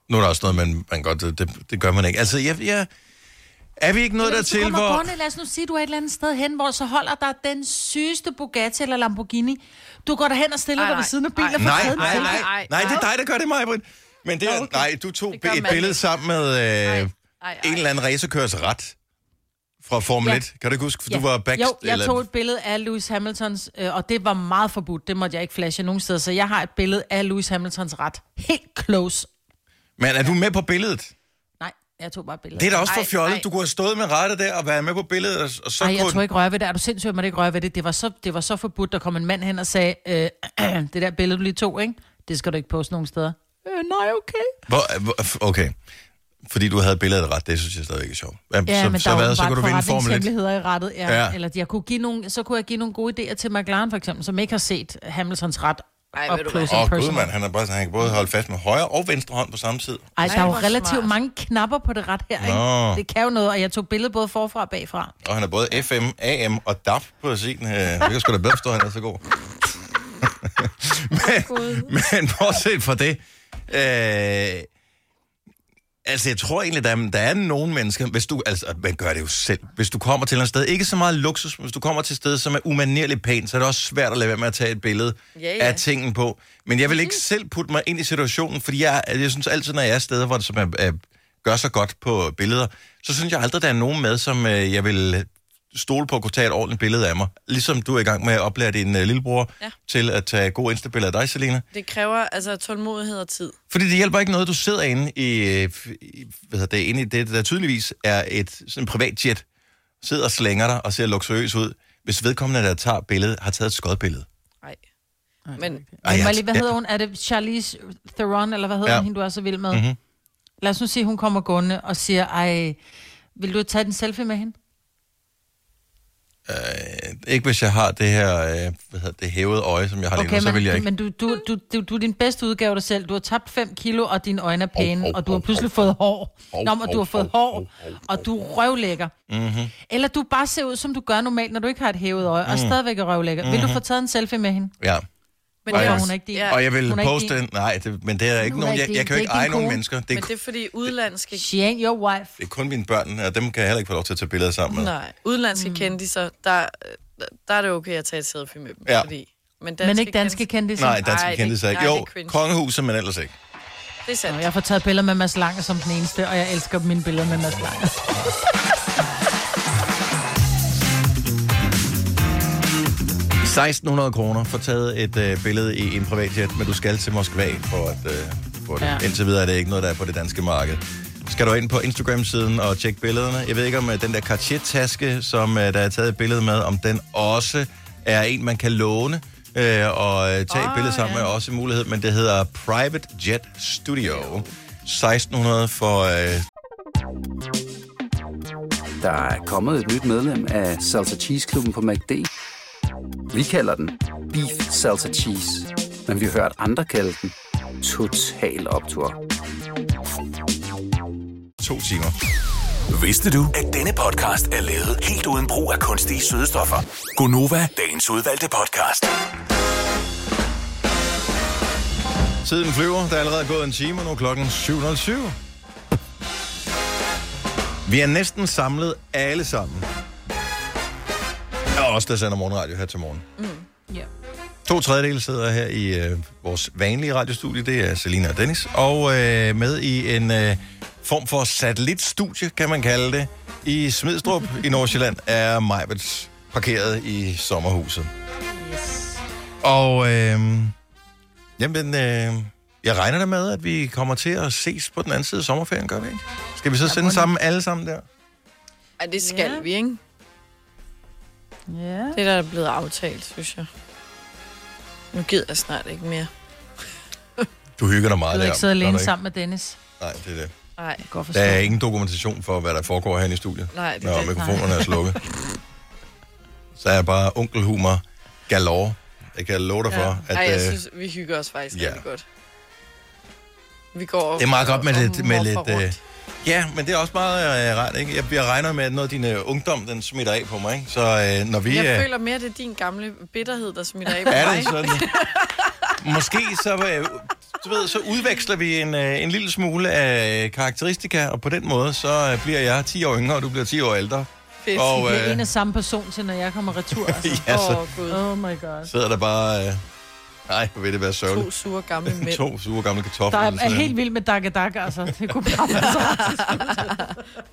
A: nu er der også noget, man, man godt, det, det gør man ikke. Altså, jeg, jeg, er vi ikke noget
D: Men
A: der
D: hvis du
A: til,
D: kommer
A: hvor...
D: gående, lad os nu sige, du er et eller andet sted hen, hvor så holder der den sygeste Bugatti eller Lamborghini. Du går derhen og stiller
B: Ej,
D: dig ved
B: nej.
D: siden af bilen
B: Ej.
D: og får
A: Nej,
D: taget en
A: nej,
D: billede.
A: nej, nej,
B: Nej,
A: nej, det er
B: nej.
A: dig, der gør det, Majbrit. Men det, okay. nej, du tog
B: Det gør
A: et
B: man
A: billede
B: ikke.
A: sammen med øh,
B: ej.
A: en eller anden racerkørs ret fra Formel
D: Ja.
A: 1. Kan du ikke huske, for du
D: Ja.
A: var back...
D: Jo, jeg
A: eller-
D: tog et billede af Lewis Hamiltons, øh, og det var meget forbudt. Det måtte jeg ikke flashe nogen steder, så jeg har et billede af Lewis Hamiltons ret. Helt close.
A: Men er du med på billedet?
D: Nej, jeg tog bare billedet.
A: Det er da også for
B: Ej, ej.
A: fjollet. Du kunne have stået med rettet der og været med på billedet, og, og så
D: Ej, jeg
A: kunne...
D: tror ikke røre ved det. Er du sindssyg, at man ikke røre ved det? Det var så, det var så forbudt. Der kom en mand hen og sagde, øh, det der billede, du lige tog, ikke? Det skal du ikke poste nogen steder. Øh, nej, okay.
A: Hvor, hvor, okay. Fordi du havde billedet ret, det synes jeg stadigvæk er sjovt. Ja,
D: Ja, så, men
A: så,
D: der er
A: hvad,
D: jo
A: så kunne du vinde Formel 1.
D: forretningshemmeligheder i rettet. Ja.
A: Ja.
D: ja. Eller jeg kunne give nogle, så kunne jeg give nogle gode idéer til McLaren, for eksempel, som ikke har set Hamiltons ret
B: Ej,
D: Ej,
B: ved
D: up
B: du hvad.
D: close
A: Åh,
D: and
A: oh, gud,
D: personal.
A: mand, han, er bare, han kan både holde fast med højre og venstre hånd på samme tid.
D: Ej, der er jo
B: hvor
D: relativt
B: smart.
D: mange knapper på det ret her,
A: Nå.
D: ikke? Det kan jo noget, og jeg tog billedet både forfra og bagfra.
A: Og han er både FM, AM og DAP på sin. Øh, det kan sgu da bedre forstå, at han er så god. men, men bortset fra det, øh, altså jeg tror egentlig, der, er- der er nogle mennesker, hvis du, altså man gør det jo selv, hvis du kommer til et sted, ikke så meget luksus, men hvis du kommer til et sted, som er umanerligt pænt, så er det også svært at lade være med at tage et billede
B: Ja, Mhm. ja.
A: af tingen på. Men jeg vil ikke selv putte mig ind i situationen, fordi jeg, jeg synes altid, når jeg er steder, hvor det som er, er, gør sig godt på billeder, så synes jeg aldrig, der er nogen med, som øh, jeg vil stole på at kunne tage et ordentligt billede af mig. Ligesom du er i gang med at oplære din øh, lillebror ja.
B: Ja.
A: til at tage gode instabilleder af dig, Selina.
B: Det kræver altså tålmodighed og tid.
A: Fordi det hjælper ikke noget, du sidder inde i, øh, f- i hvad hedder det, inde i det, der tydeligvis er et sådan en privat jet, sidder og slænger dig og ser luksuriøs ud, hvis vedkommende, der tager billedet, har taget et skodbillede.
B: Nej. Men
A: Ej,
D: Ej,
A: jeg-
D: Molly, hvad hedder hun? Er det Charlize Theron, eller hvad hedder
A: Ja. Mhm.
D: ja. hun, hende, du er så vild med? Mm-hmm. Lad os nu sige, hun kommer gående og siger, ej, vil du tage den selfie med hende?
A: Øh, ikke hvis jeg har det her, øh, hvad hedder det, hævede øje, som jeg har okay, lige nu, så
D: men,
A: vil jeg ikke.
D: men du, du, du, du, du er din bedste udgave af dig selv. Du har tabt 5 kilo, og dine øjne er pæne,
A: Hov,
D: oh,
A: hov,
D: oh, og du har
A: hov,
D: pludselig
A: hov.
D: fået hår.
A: Hov,
D: Oh, Nå, men
A: hov,
D: du har fået
A: hov,
D: hår,
A: hov, hov, Mhm.
D: og du er røvlækker. Mm-hmm. Eller du bare ser ud, som du gør normalt, når du ikke har et hævet øje, og stadigvæk er røvlækker. Mm-hmm. Vil
A: Mhm.
D: du få taget en selfie med hende?
A: Ja.
B: Men
A: Og
B: det
A: jeg-
B: er også,
D: hun er ikke din.
B: Ja,
A: Og jeg vil
D: Hun er ikke
A: poste den. Nej, det, men det er ikke
D: Hun er
A: nogen,
D: ikke
A: jeg,
D: din-
A: jeg kan jo
D: det
A: ikke
D: er ikke
A: eje
D: din
A: nogen
D: kone.
A: mennesker. Det er,
B: men det er fordi udenlandske,
D: She ain't your wife.
A: det er kun mine børn, og dem kan jeg heller ikke få lov til at tage billeder sammen med.
B: nej, udenlandske mm. kendiser, der, der er det okay at tage et selfie med dem.
A: Ja.
B: Fordi, men,
D: Men ikke danske
B: kendis-
D: kendte.
A: Nej,
B: Ej,
A: danske
B: det-
A: kendte sig ikke.
B: nej, det
A: Jo,
B: er cringe.
A: kongehuset, men ellers ikke.
B: Det er sandt.
D: Jeg får taget billeder med Mads Lange som den eneste, og jeg elsker mine billeder med Mads Lange.
A: Mm. 1600 kroner for taget et øh, billede i en privatjet, men du skal til Moskva for at øh, få det. Ja.
D: Ja.
A: Indtil videre er det ikke noget, der er på det danske marked. Skal du ind på Instagram-siden og tjekke billederne? Jeg ved ikke, om øh, den der Cartier-taske, som øh, der er taget et billede med, om den også er en, man kan låne øh, og øh, tage oh, et billede sammen ja. med, er også en mulighed, men det hedder Private Jet Studio. 1600 for øh,
F: Der er kommet et nyt medlem af Salsa Cheese Klubben på MACD. Vi kalder den Beef Salsa Cheese, men vi har hørt andre kalde den Total Optor.
A: to timer.
E: Vidste du, at denne podcast er lavet helt uden brug af kunstige sødestoffer? Gonova, dagens udvalgte podcast.
A: Tiden flyver. Der er allerede gået en time, og nu er klokken 7.07. Vi er næsten samlet alle sammen. Og også der sender morgenradio her til morgen. Mm.
D: Ja.
A: To tredjedele sidder her i øh, vores vanlige radiostudie. Det er Selina og Dennis. Og øh, med i en øh, form for satellitstudie, kan man kalde det, i Smidstrup i Nordsjælland, er Majbets parkeret i sommerhuset. Og øh, jamen, øh, jeg regner da med, at vi kommer til at ses på den anden side af sommerferien, gør vi ikke? Skal vi så sende sammen alle sammen der?
B: Ej, det skal
D: Ja.
B: vi, ikke?
D: Ja.
B: Det er der er blevet aftalt, synes jeg. Nu gider jeg snart ikke mere.
A: Du hygger dig meget
D: Du vil
A: der.
D: ikke sidde
A: gør
D: alene
A: du
D: sammen med Dennis.
A: Nej, det er det.
B: Nej,
D: Godt
A: Der er
D: forstå.
A: ingen dokumentation for, hvad der foregår herinde i studiet.
B: nej, det er
A: Når
B: det.
A: mikrofonerne er slukket. Så er jeg bare onkelhumor galore. Jeg kan love dig ja. for, at
B: Ej, jeg
A: øh,
B: synes, vi hygger os faktisk
A: ja.
B: ja. rigtig godt. Vi går
A: Det er meget godt med
B: og-
A: lidt-
B: og
A: med
B: morfer
A: lidt, øh,
B: rundt.
A: Ja, men det er også meget øh, rart, ikke? Jeg, jeg regner med, at noget af din øh, ungdom, den smitter af på mig, ikke? Så øh, når vi...
B: Jeg
A: øh,
B: føler mere, det er din gamle bitterhed, der smitter af på
A: er
B: mig.
A: det sådan? Måske så, øh, du ved, så udveksler vi en, øh, en lille smule af øh, karakteristika, og på den måde, så øh, bliver jeg 10 år yngre, og du bliver 10 år ældre.
B: Fedt.
A: Og
D: Det er
A: øh,
D: en af samme person til, når jeg kommer retur. Altså.
A: ja,
B: Åh,
A: så
B: oh, gud.
D: Oh my god.
A: sidder der bare... Øh, nej, hvor vil det være
B: To
A: sørgeligt.
B: sure gamle mænd.
A: To sure gamle
D: Der
A: kartofler.
D: er,
A: eller
D: er
A: sådan
D: helt vild med Dakka Dakka, altså. Det kunne bare være så.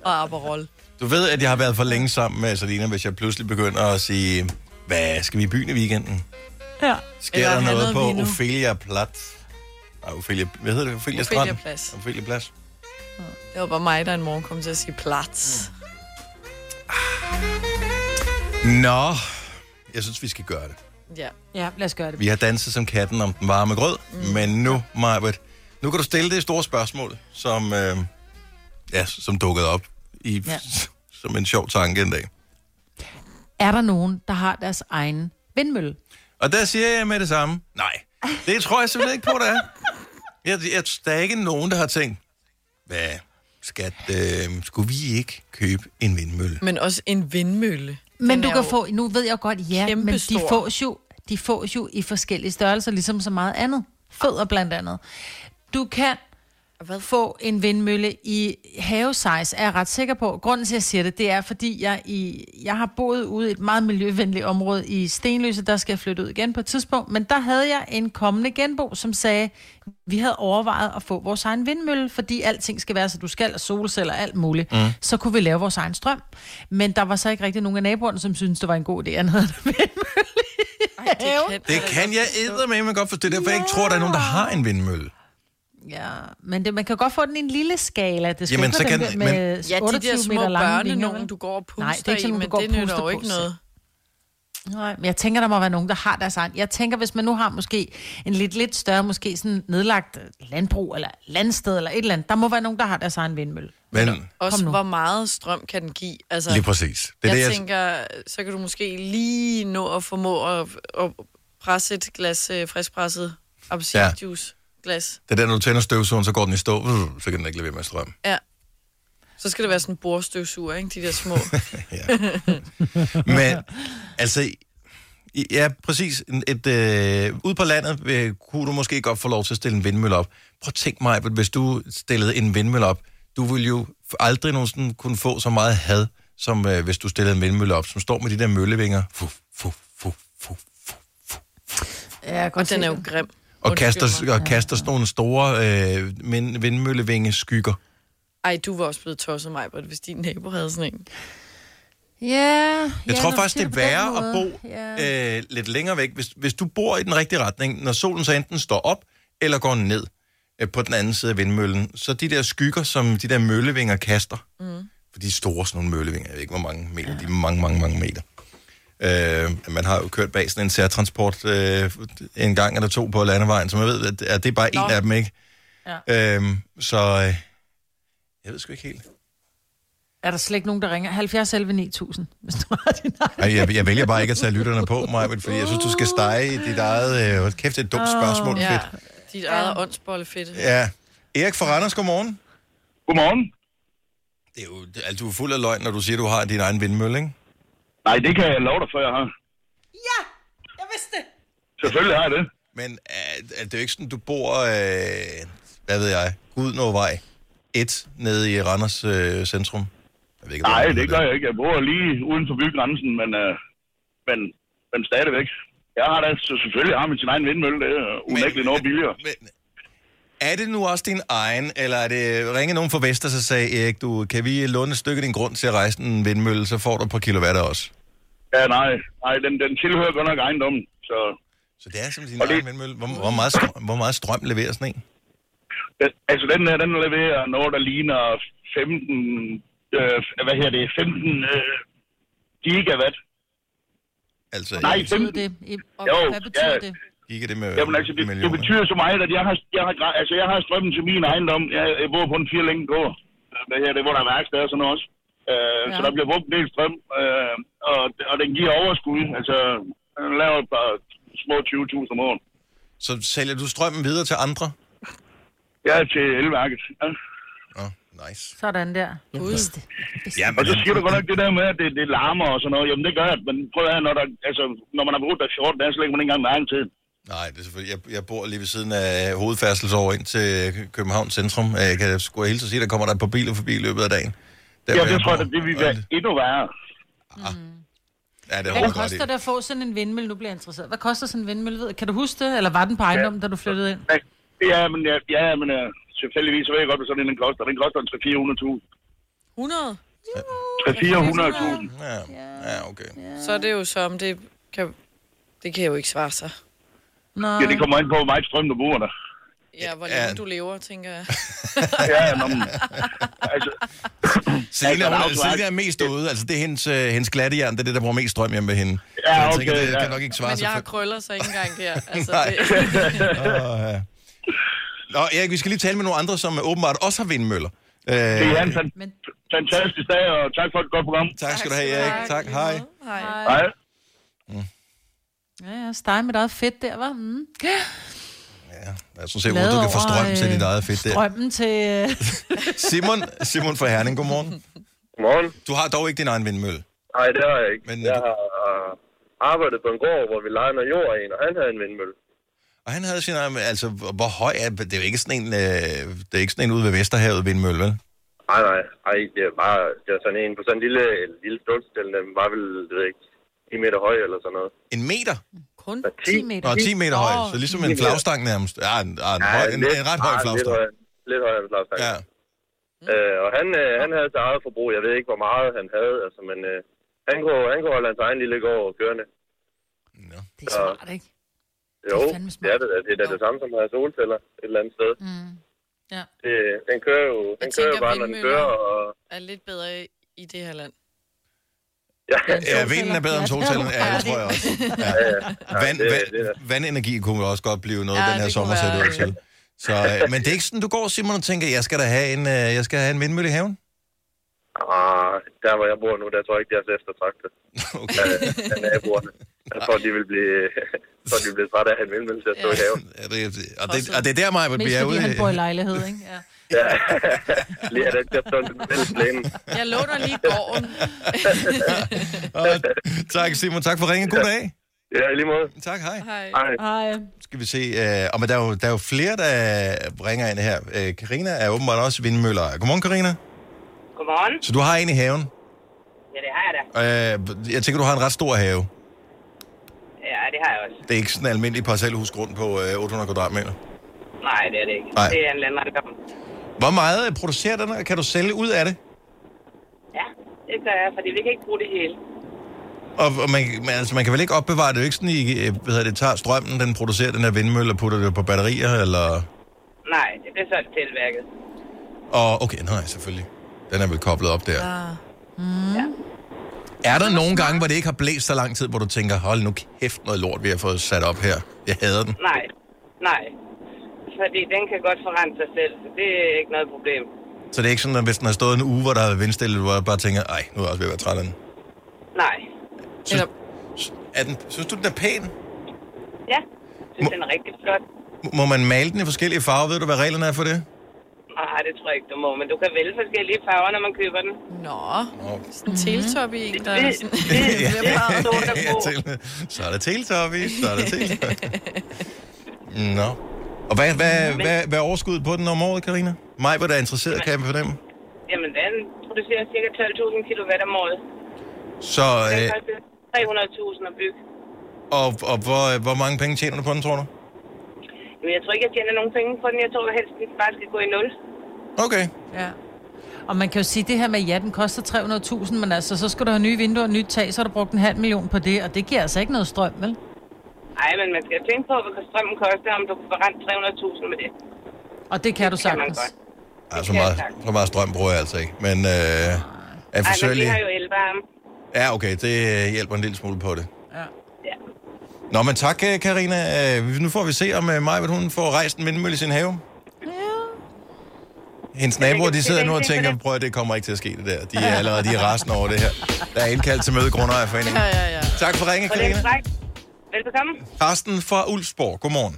B: og Aperol.
A: Du ved, at jeg har været for længe sammen med Salina, hvis jeg pludselig begynder at sige, hvad skal vi i byen i weekenden?
D: Ja.
A: Sker
B: Eller
A: der
B: have
A: noget,
B: noget
A: på
B: vino.
A: Ophelia Plat? Nej, Ophelia, hvad hedder det? Ophelia, Strand?
B: Ophelia Plads.
A: Ophelia Plads.
B: Det var bare mig, der en morgen kom til at sige plats.
A: Nå, jeg synes, vi skal gøre det.
B: Ja.
D: ja, lad os gøre det.
A: Vi har danset som katten om den varme grød, mm. men nu, Majbert, nu kan du stille det store spørgsmål, som, øh, ja, som dukkede op i, ja.
D: Ja.
A: som en sjov tanke en dag.
D: Er der nogen, der har deres egen vindmølle?
A: Og der siger jeg med det samme, nej, det tror jeg simpelthen ikke på, der er. Jeg, jeg, der er ikke nogen, der har tænkt, hvad, skat, øh, skulle vi ikke købe en vindmølle?
B: Men også en vindmølle.
D: Men
B: Den
D: du
B: er
D: kan
B: jo
D: få, nu ved jeg godt, ja, men de
B: kæmpestor.
D: fås, jo, de fås jo i forskellige størrelser, ligesom så meget andet. Fødder blandt andet. Du kan
B: Hvad?
D: få en vindmølle i havesize, er jeg ret sikker på. Grunden til, at jeg siger det, det er, fordi jeg, i, jeg har boet ude i et meget miljøvenligt område i Stenløse. Der skal jeg flytte ud igen på et tidspunkt. Men der havde jeg en kommende genbo, som sagde, vi havde overvejet at få vores egen vindmølle, fordi alting skal være, så du skal, og solceller og alt muligt. Mm. Så kunne vi lave vores egen strøm. Men der var så ikke rigtig nogen af naboerne, som syntes, det var en god idé, at han havde en vindmølle i haven.
B: kan,
A: Det kan jeg eddermame godt forstå. Det er derfor, jeg ikke tror, der er nogen, der har en vindmølle.
D: Ja, men det, man kan godt få den i en lille skala. Det skal
A: Jamen,
D: ikke
A: så
D: være
A: kan-
D: den der med
B: Ja, de
D: 28
B: der små
D: meter lange
B: børne,
D: vinger,
B: nogen
D: vel?
B: du går og puster
D: Nej, det er ikke sådan,
B: i,
D: nogen,
B: men
D: du går og puster på,
B: det nytter jo ikke
D: så-
B: noget.
D: Nej, men jeg tænker, der må være nogen, der har deres egen. Jeg tænker, hvis man nu har måske en lidt, lidt større, måske sådan nedlagt øh, landbrug eller landsted eller et eller andet, der må være nogen, der har deres egen vindmølle.
A: Men
B: Også
D: nu.
B: hvor meget strøm kan den give. Altså,
A: lige præcis. Det er
B: jeg
A: det, jeg,
B: tænker, så kan du måske lige nå at formå at, at presse et glas øh, friskpresset appelsinjuice glas.
A: det er der, når du tænder støvsugeren, så går den i stå, Mm, så kan den ikke levere med strøm.
B: Ja. Så skal det være sådan en bordstøvsuger, ikke? De der små.
A: Men altså, i- ja, præcis. En- Et, øh, ude på landet øh, kunne du måske godt få lov til at stille en vindmølle op. Prøv at tænk mig, hvis du stillede en vindmølle op, du ville jo f- aldrig nogensinde kunne få så meget had, som øh, hvis du stillede en vindmølle op, som står med de der møllevinger fu, fu, fu, fu, fu,
D: Ja,
B: Og den er jo grim.
A: og,
B: Undskyld
A: kaster,
B: mig.
A: og kaster sådan nogle store øh, vind- vindmøllevingeskygger.
B: Ej, du var også blevet tosset mig, hvis din nabo havde sådan en.
D: Ja,
A: Jeg
D: ja,
A: tror
D: når du
A: faktisk, det
D: siger
A: er
D: på den
A: værre at
D: måde.
A: bo
D: Ja.
A: ja. øh, lidt længere væk. Hvis, hvis du bor i den rigtige retning, når solen så enten står op eller går ned øh, på den anden side af vindmøllen, så de der skygger, som de der møllevinger kaster, mm. for de er store sådan nogle møllevinger, jeg ved ikke, hvor mange meter, ja. de er mange, mange, mange meter. Øh, man har jo kørt bag sådan en særtransport øh, en gang eller to på landevejen, så man ved, at, at det er bare
B: Nå.
A: en af dem, ikke? Ja. Øh, så øh, jeg ved sgu ikke helt.
D: Er der slet ikke nogen, der ringer? 70 11 9000, hvis du har din egen.
A: Ej, jeg, jeg vælger bare ikke at tage lytterne på mig, men fordi jeg synes, du skal stege i dit eget... Øh, hold kæft, det er et dumt spørgsmål.
B: Ja,
A: Fedt.
B: dit eget åndsbollefedt. Ja.
A: Ja. Erik fra Randers, godmorgen.
G: Godmorgen.
A: Det er jo, det- altså, du er fuld af løgn, når du siger, du har din egen vindmølle, ikke?
G: Nej, det kan jeg love dig for, jeg har.
D: Jeg vidste det.
G: Selvfølgelig har jeg det.
A: Men er, er det jo ikke sådan, du bor... Øh, hvad ved jeg? Gudnåvej 1 nede i Randers øh, centrum? Jeg ved ikke,
G: Nej, det gør jeg ikke. Jeg bor lige uden for bygrænsen, men, øh, men, men stadigvæk. Jeg har da så selvfølgelig har min sin egen vindmølle, det er unægteligt noget billigere.
A: Men, er det nu også din egen, eller er det ringe nogen fra Vester, så sagde Erik, du, kan vi låne et stykke af din grund til at rejse en vindmølle, så får du et par kilowatt også?
G: Ja, nej, nej den, den tilhører godt nok ejendommen. Så
A: Så det er simpelthen
G: Og
A: din
G: det-
A: egen vindmølle. Hvor, hvor, meget strøm, hvor meget strøm leverer sådan en?
G: den, altså den her, den leverer noget, der ligner 15, øh, hvad her det, 15 øh, gigawatt.
A: Altså,
G: Nej,
A: jeg-
D: Betyder
G: 15,
D: det? I-
G: Jo,
D: Hvad betyder
G: ja.
D: det?
A: Gik det med
G: Jamen altså, det, det
A: millioner?
G: betyder så meget, at jeg har, jeg har, gra- altså, jeg har strømmen til min ejendom. Jeg, jeg bor på en firelænge gård. Det her, det er, hvor der er værksted og sådan noget også.
D: Ja.
G: Øh, Så der bliver brugt en del strøm, øh, og, og den giver overskud. Altså, den laver et par små 20.000 om året.
A: Så sælger du strømmen videre til andre?
G: Jeg er til elværket. Ja.
A: Nå, oh, nice.
D: Sådan der. Jeg vidste det.
A: Ja,
G: Og så siger du godt nok det der med, at det, det larmer og sådan noget. Jamen, det gør det. Men prøv at høre, når, der, altså, når man har brugt der 14 dage, så lægger man ikke engang mærke til det.
A: Nej, det er selvfølgelig. Jeg, jeg bor lige ved siden af hovedfærdselsår ind til København Centrum. Jeg kan sgu hilse og sige, der kommer der et par biler forbi i løbet af dagen. Der,
G: Ja,
A: hvor
G: det tror jeg,
A: bor.
G: at det vil
A: Og
G: være
A: det-
G: endnu værre.
A: Ja, det
D: Hvad
A: håber jeg
D: koster
A: godt
D: det
A: i.
D: at få sådan en vindmølle? Nu bliver jeg interesseret. Hvad koster sådan en vindmølle? Ved- Kan du huske det? Eller var den på ejendommen, da du flyttede ind?
G: Nej. Ja, men, ja, ja, men ja, selvfølgelig så ved jeg godt, hvad sådan en den koster. Den koster en 300-400.000.
B: 100?
G: 400.000.
A: Ja, ja okay.
B: Så er det jo som, det kan, det kan jo ikke svare sig.
D: Nå.
G: Ja, det kommer ind på, hvor meget strøm du bruger der.
B: Ja, hvor
A: Ja.
B: længe du lever, tænker jeg.
G: Ja, ja, nå, men, altså,
A: Selina,
G: der er
A: hun,
G: også-
A: Selina er mest derude. Altså, det er hendes, øh, hendes glattejern, det er det, der bruger mest strøm hjemme ved hende. Så
G: Ja,
A: jeg
G: okay,
A: det
G: ja.
A: kan nok ikke svare
B: Men
A: sig.
B: jeg har
A: for-
B: krøller, så ikke engang der. Altså,
A: Nej.
B: det,
A: Åh, ja. Nå, Erik, vi skal lige tale med nogle andre, som åbenbart også har vindmøller. Øh,
G: det er en fan- fantastisk dag, og tak for et godt program.
A: tak skal du have, Erik. Tak, hej.
B: Hej.
G: Hej.
D: Ja, ja, steg med eget fedt der, var. Mm.
A: Jeg synes, at du
D: Glad
A: kan få
D: over,
A: strøm til
D: øh,
A: dit eget fedt der.
D: Drømmen til... øh,
A: Simon, Simon fra Herning, godmorgen.
C: Godmorgen.
A: Du har dog ikke din egen vindmølle.
C: Nej, det har jeg ikke.
A: Men,
C: Men, jeg
A: øh,
C: har arbejdet på en gård, hvor vi leger noget jord af en, og han havde en vindmølle.
A: Og han havde sin, egen- altså, hvor høj er det? er jo ikke sådan en, øh, det er ikke sådan en ude ved Vesterhavet vindmølle, vel?
C: Nej, nej, nej, det var, det var sådan en på sådan en lille, en lille stålstil, den var vel, det ved jeg ikke, 10 meter høj eller sådan noget.
A: En meter?
D: Kun
C: Der er
D: 10 meter.
A: Nå, 10 meter høj, så ligesom en flagstang nærmest. Ja, en, ja, en, høj, en, en ret høj
C: ah, Lidt
A: flagstang.
C: højere, lidt højere end flagstang.
A: Ja.
C: Ja. Øh, og han, øh, han havde sit eget forbrug. Jeg ved ikke, hvor meget han havde, altså, men øh, han, kunne, han kunne holde hans egen lille gård kørende.
A: Nå.
D: Det er smart, ikke?
C: Jo,
D: Det er fandme smart.
C: det er det, da. det er da det samme som at have solceller et eller andet sted.
D: Mm. Ja.
C: Det, den kører jo, den kører jo
B: tænker
C: bare, når den
B: vindmøller.
C: kører, og...
B: Er lidt bedre i det her land.
C: Ja,
A: Ja, vinden er bedre end solcellen, ja, det tror jeg også. Ja. Vand,
C: det-
A: vand, vandenergi kunne også godt blive noget,
B: Ja,
A: ja, den her
B: det
A: sommer
B: kunne
A: ser det ud
B: være-
A: til. Så, øh, men det er ikke sådan, du går, Simon, og tænker, jeg skal da have en, øh, jeg skal have en vindmølle i haven?
C: ah, der hvor jeg bor nu, der tror jeg ikke, det er så eftertragtet
A: Okay.
C: af, af naboerne. Jeg tror, de vil blive, jeg tror, de bliver trætte af at have en vindmølle til at stå i haven.
A: Ja, det, og, det, og det er der, mig, vi
D: Mest
A: er
D: fordi
A: ude.
D: han bor i lejlighed, ikke? Ja.
C: Ja, lige at den der står en vældig plæne.
B: Jeg låner lige gården.
A: Og, tak, Simon. Tak for ringen. God dag.
C: Ja, i lige måde.
A: Tak, hej.
B: Hej.
C: Hej.
D: Ej,
A: Skal vi se. Øh, og men der er, jo, der er jo flere, der ringer ind her. Øh, Karina er åbenbart også vindmøller. Godmorgen, Karina.
H: Godmorgen.
A: Så du har en i haven.
H: Ja, det har jeg da.
A: Øh, jeg tænker, du har en ret stor have.
H: Ja, det har jeg også.
A: Det er ikke sådan en almindelig parcelhusgrund på øh, 800 kvadratmeter.
H: Nej, det er det ikke.
A: Nej.
H: Det er en landmandkamp.
A: Hvor meget øh, producerer den, og kan du sælge ud af det?
H: Ja, det gør jeg, fordi vi kan ikke bruge det hele.
A: Og, og man, man, altså, man kan vel ikke opbevare det, det er jo ikke sådan, I, øh, hvad hedder det, tager strømmen, den producerer den her vindmølle og putter det på batterier, eller...
H: Nej, det bliver solgt tilværket.
A: Og okay, nej, selvfølgelig. Den er vel koblet op der. Mm.
B: Ah.
A: Er der nogle gange, hvor det ikke har blæst så lang tid, hvor du tænker, hold nu kæft noget lort, vi har fået sat op her. Jeg hader den.
H: Nej, nej. Fordi den kan godt forrente sig selv, så det er ikke noget problem.
A: Så det er ikke sådan, at hvis den har stået en uge, hvor der har været vindstille, hvor jeg bare tænker, ej, nu er jeg også ved at være træt af den.
H: Nej.
A: Synes, er den, synes du, den er pæn?
H: Ja, jeg synes, den er rigtig flot.
A: M- Må man male den i forskellige farver? Ved du, hvad reglerne er for det?
H: Nej, det tror jeg ikke, du må, men du kan vælge forskellige farver, når man køber den.
B: Nå,
A: Nå,
B: sådan en teletop i en, der er sådan...
H: det,
A: Ja.
H: det, det, det,
A: ja, til, så er der Teletubby, så er der Teletubby. Nå. Og hvad, hvad, hvad, hvad er overskuddet på den om året, Karina? Mig, hvor der er interesseret, kan jeg fornemme.
H: Jamen, den producerer cirka 12.000 kW om året.
A: Så,
H: Den
A: øh,
H: koster 300.000 at bygge.
A: og, og hvor, øh, hvor mange penge tjener du på den, tror du?
H: Men jeg tror ikke, jeg tjener nogen penge på den. Jeg tror helst, den bare skal gå i nul.
A: Okay.
D: ja. Og man kan jo sige, det her med, ja, den koster 300.000, men altså, så skal du have nye vinduer og nyt tag, så har du brugt en halv million på det, og det giver altså ikke noget strøm, vel?
H: Nej, men man skal tænke på, hvad strømmen koster, om du kan forrente 300.000 med det.
D: Og det kan du
H: Det kan man
D: sagtens.
H: godt.
A: Ja, så,
H: Ja,
A: meget,
H: tak.
A: så meget strøm bruger jeg altså ikke. Men øh, er
H: Ej, men vi
A: forsøgelig...
H: har jo elvarme.
A: Ja, okay, det øh, hjælper en lille smule på det.
H: Ja.
A: Nå, men tak, øh, Karina. Øh, Nu får vi se, om øh, Maja, hun får rejst en vindmølle i sin have. Hendes naboer, de sidder nu og tænker, prøv at det kommer ikke til at ske det der. De er allerede de er rasende over det her. Der er indkaldt til møde i Grundejerforeningen.
B: Ja, ja, ja.
A: Tak for ringen,
H: Og det er
A: Karina.
H: frækt. Velbekomme.
A: Karsten fra Ulfsborg, godmorgen.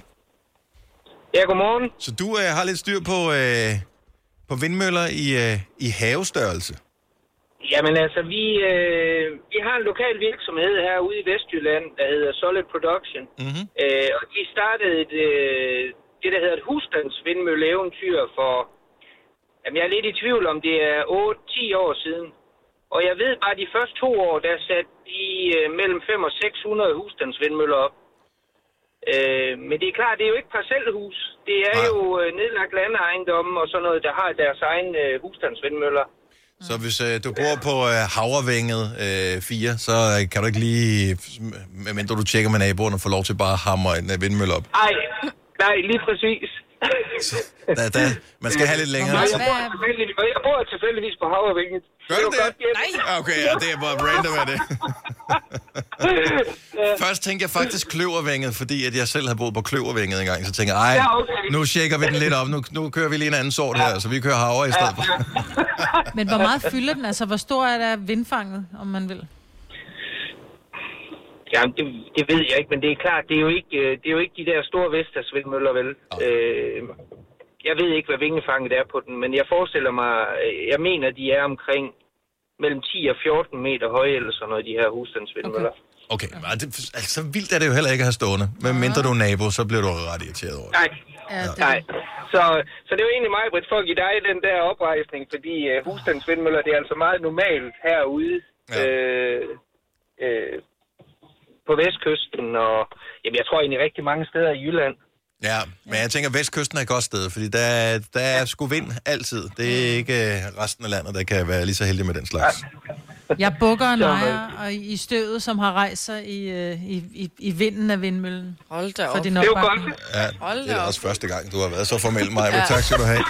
C: Ja, godmorgen.
A: Så du øh, har lidt styr på, øh, på vindmøller i, øh, i havestørrelse.
C: Jamen altså, vi, øh, vi har en lokal virksomhed her ude i Vestjylland, der hedder Solid Production. Mm-hmm. Øh, og de startede et, øh, det, der hedder et husstandsvindmølleeventyr for... Jamen, jeg er lidt i tvivl om det er 8-10 år siden. Og jeg ved bare, at de første to år, der satte de øh, mellem 500 og 600 husstandsvindmøller op. Øh, men det er klart, det er jo ikke parcelhus. Det er
A: Nej.
C: Nej. jo øh, nedlagt landeejendomme og sådan noget, der har deres egen øh, husstandsvindmøller.
A: Så hvis øh, du bor på øh, Havrevænget øh, 4, så øh, kan du ikke lige, medmindre du tjekker med naboerne, få lov til bare at hamre en øh, vindmølle op.
C: Nej, nej, lige præcis.
A: Da, da, man skal have lidt længere.
C: Nej, jeg, bor tilfældigvis, jeg bor tilfældigvis på Havrevinget.
A: Gør du det?
C: Nej.
A: Ah, Okay, ja, det er bare random af det. Først tænkte jeg faktisk kløvervænget, fordi at jeg selv havde boet på kløvervænget engang. Så tænkte jeg, ej,
C: Ja, okay.
A: nu tjekker vi den lidt op. Nu, nu kører vi lige en anden sort her, så vi kører havre i stedet for.
D: Men hvor meget fylder den? Altså, hvor stor er der vindfanget, om man vil?
C: Jamen, det, det, ved jeg ikke, men det er klart, det er jo ikke, øh, det er jo ikke de der store Vestas vindmøller, vel? Øh, jeg ved ikke, hvad vingefanget er på den, men jeg forestiller mig, øh, jeg mener, de er omkring mellem 10 og 14 meter høje, eller sådan noget, de her husstandsvindmøller. Okay.
A: Okay, men det, altså, så vildt er det jo heller ikke at have stående. Men mindre du er nabo, så bliver du ret irriteret over det.
C: Nej,
D: Ja, det,
C: nej. Så, så det er jo egentlig mig, Britt, for at give dig den der oprejsning, fordi øh, husstandsvindmøller, det er altså meget normalt herude
A: Ja.
C: ja. øh, øh, på vestkysten, og jamen, jeg tror egentlig rigtig mange steder i Jylland.
A: Ja, men jeg tænker, at Vestkysten er et godt sted, fordi der, der er sgu vind altid. Det er ikke øh, resten af landet, der kan være lige så heldig med den slags.
D: Jeg bukker en lejer og i i støvet, som har rejst sig i, øh, i, i, i vinden af vindmøllen.
B: Hold da op.
D: For din
C: Det er jo
D: opbakning.
C: godt.
A: Ja,
B: Hold
A: det er
B: da
A: også
B: op.
A: første gang, du har været så formel, Maja. Ja. Tak skal du have.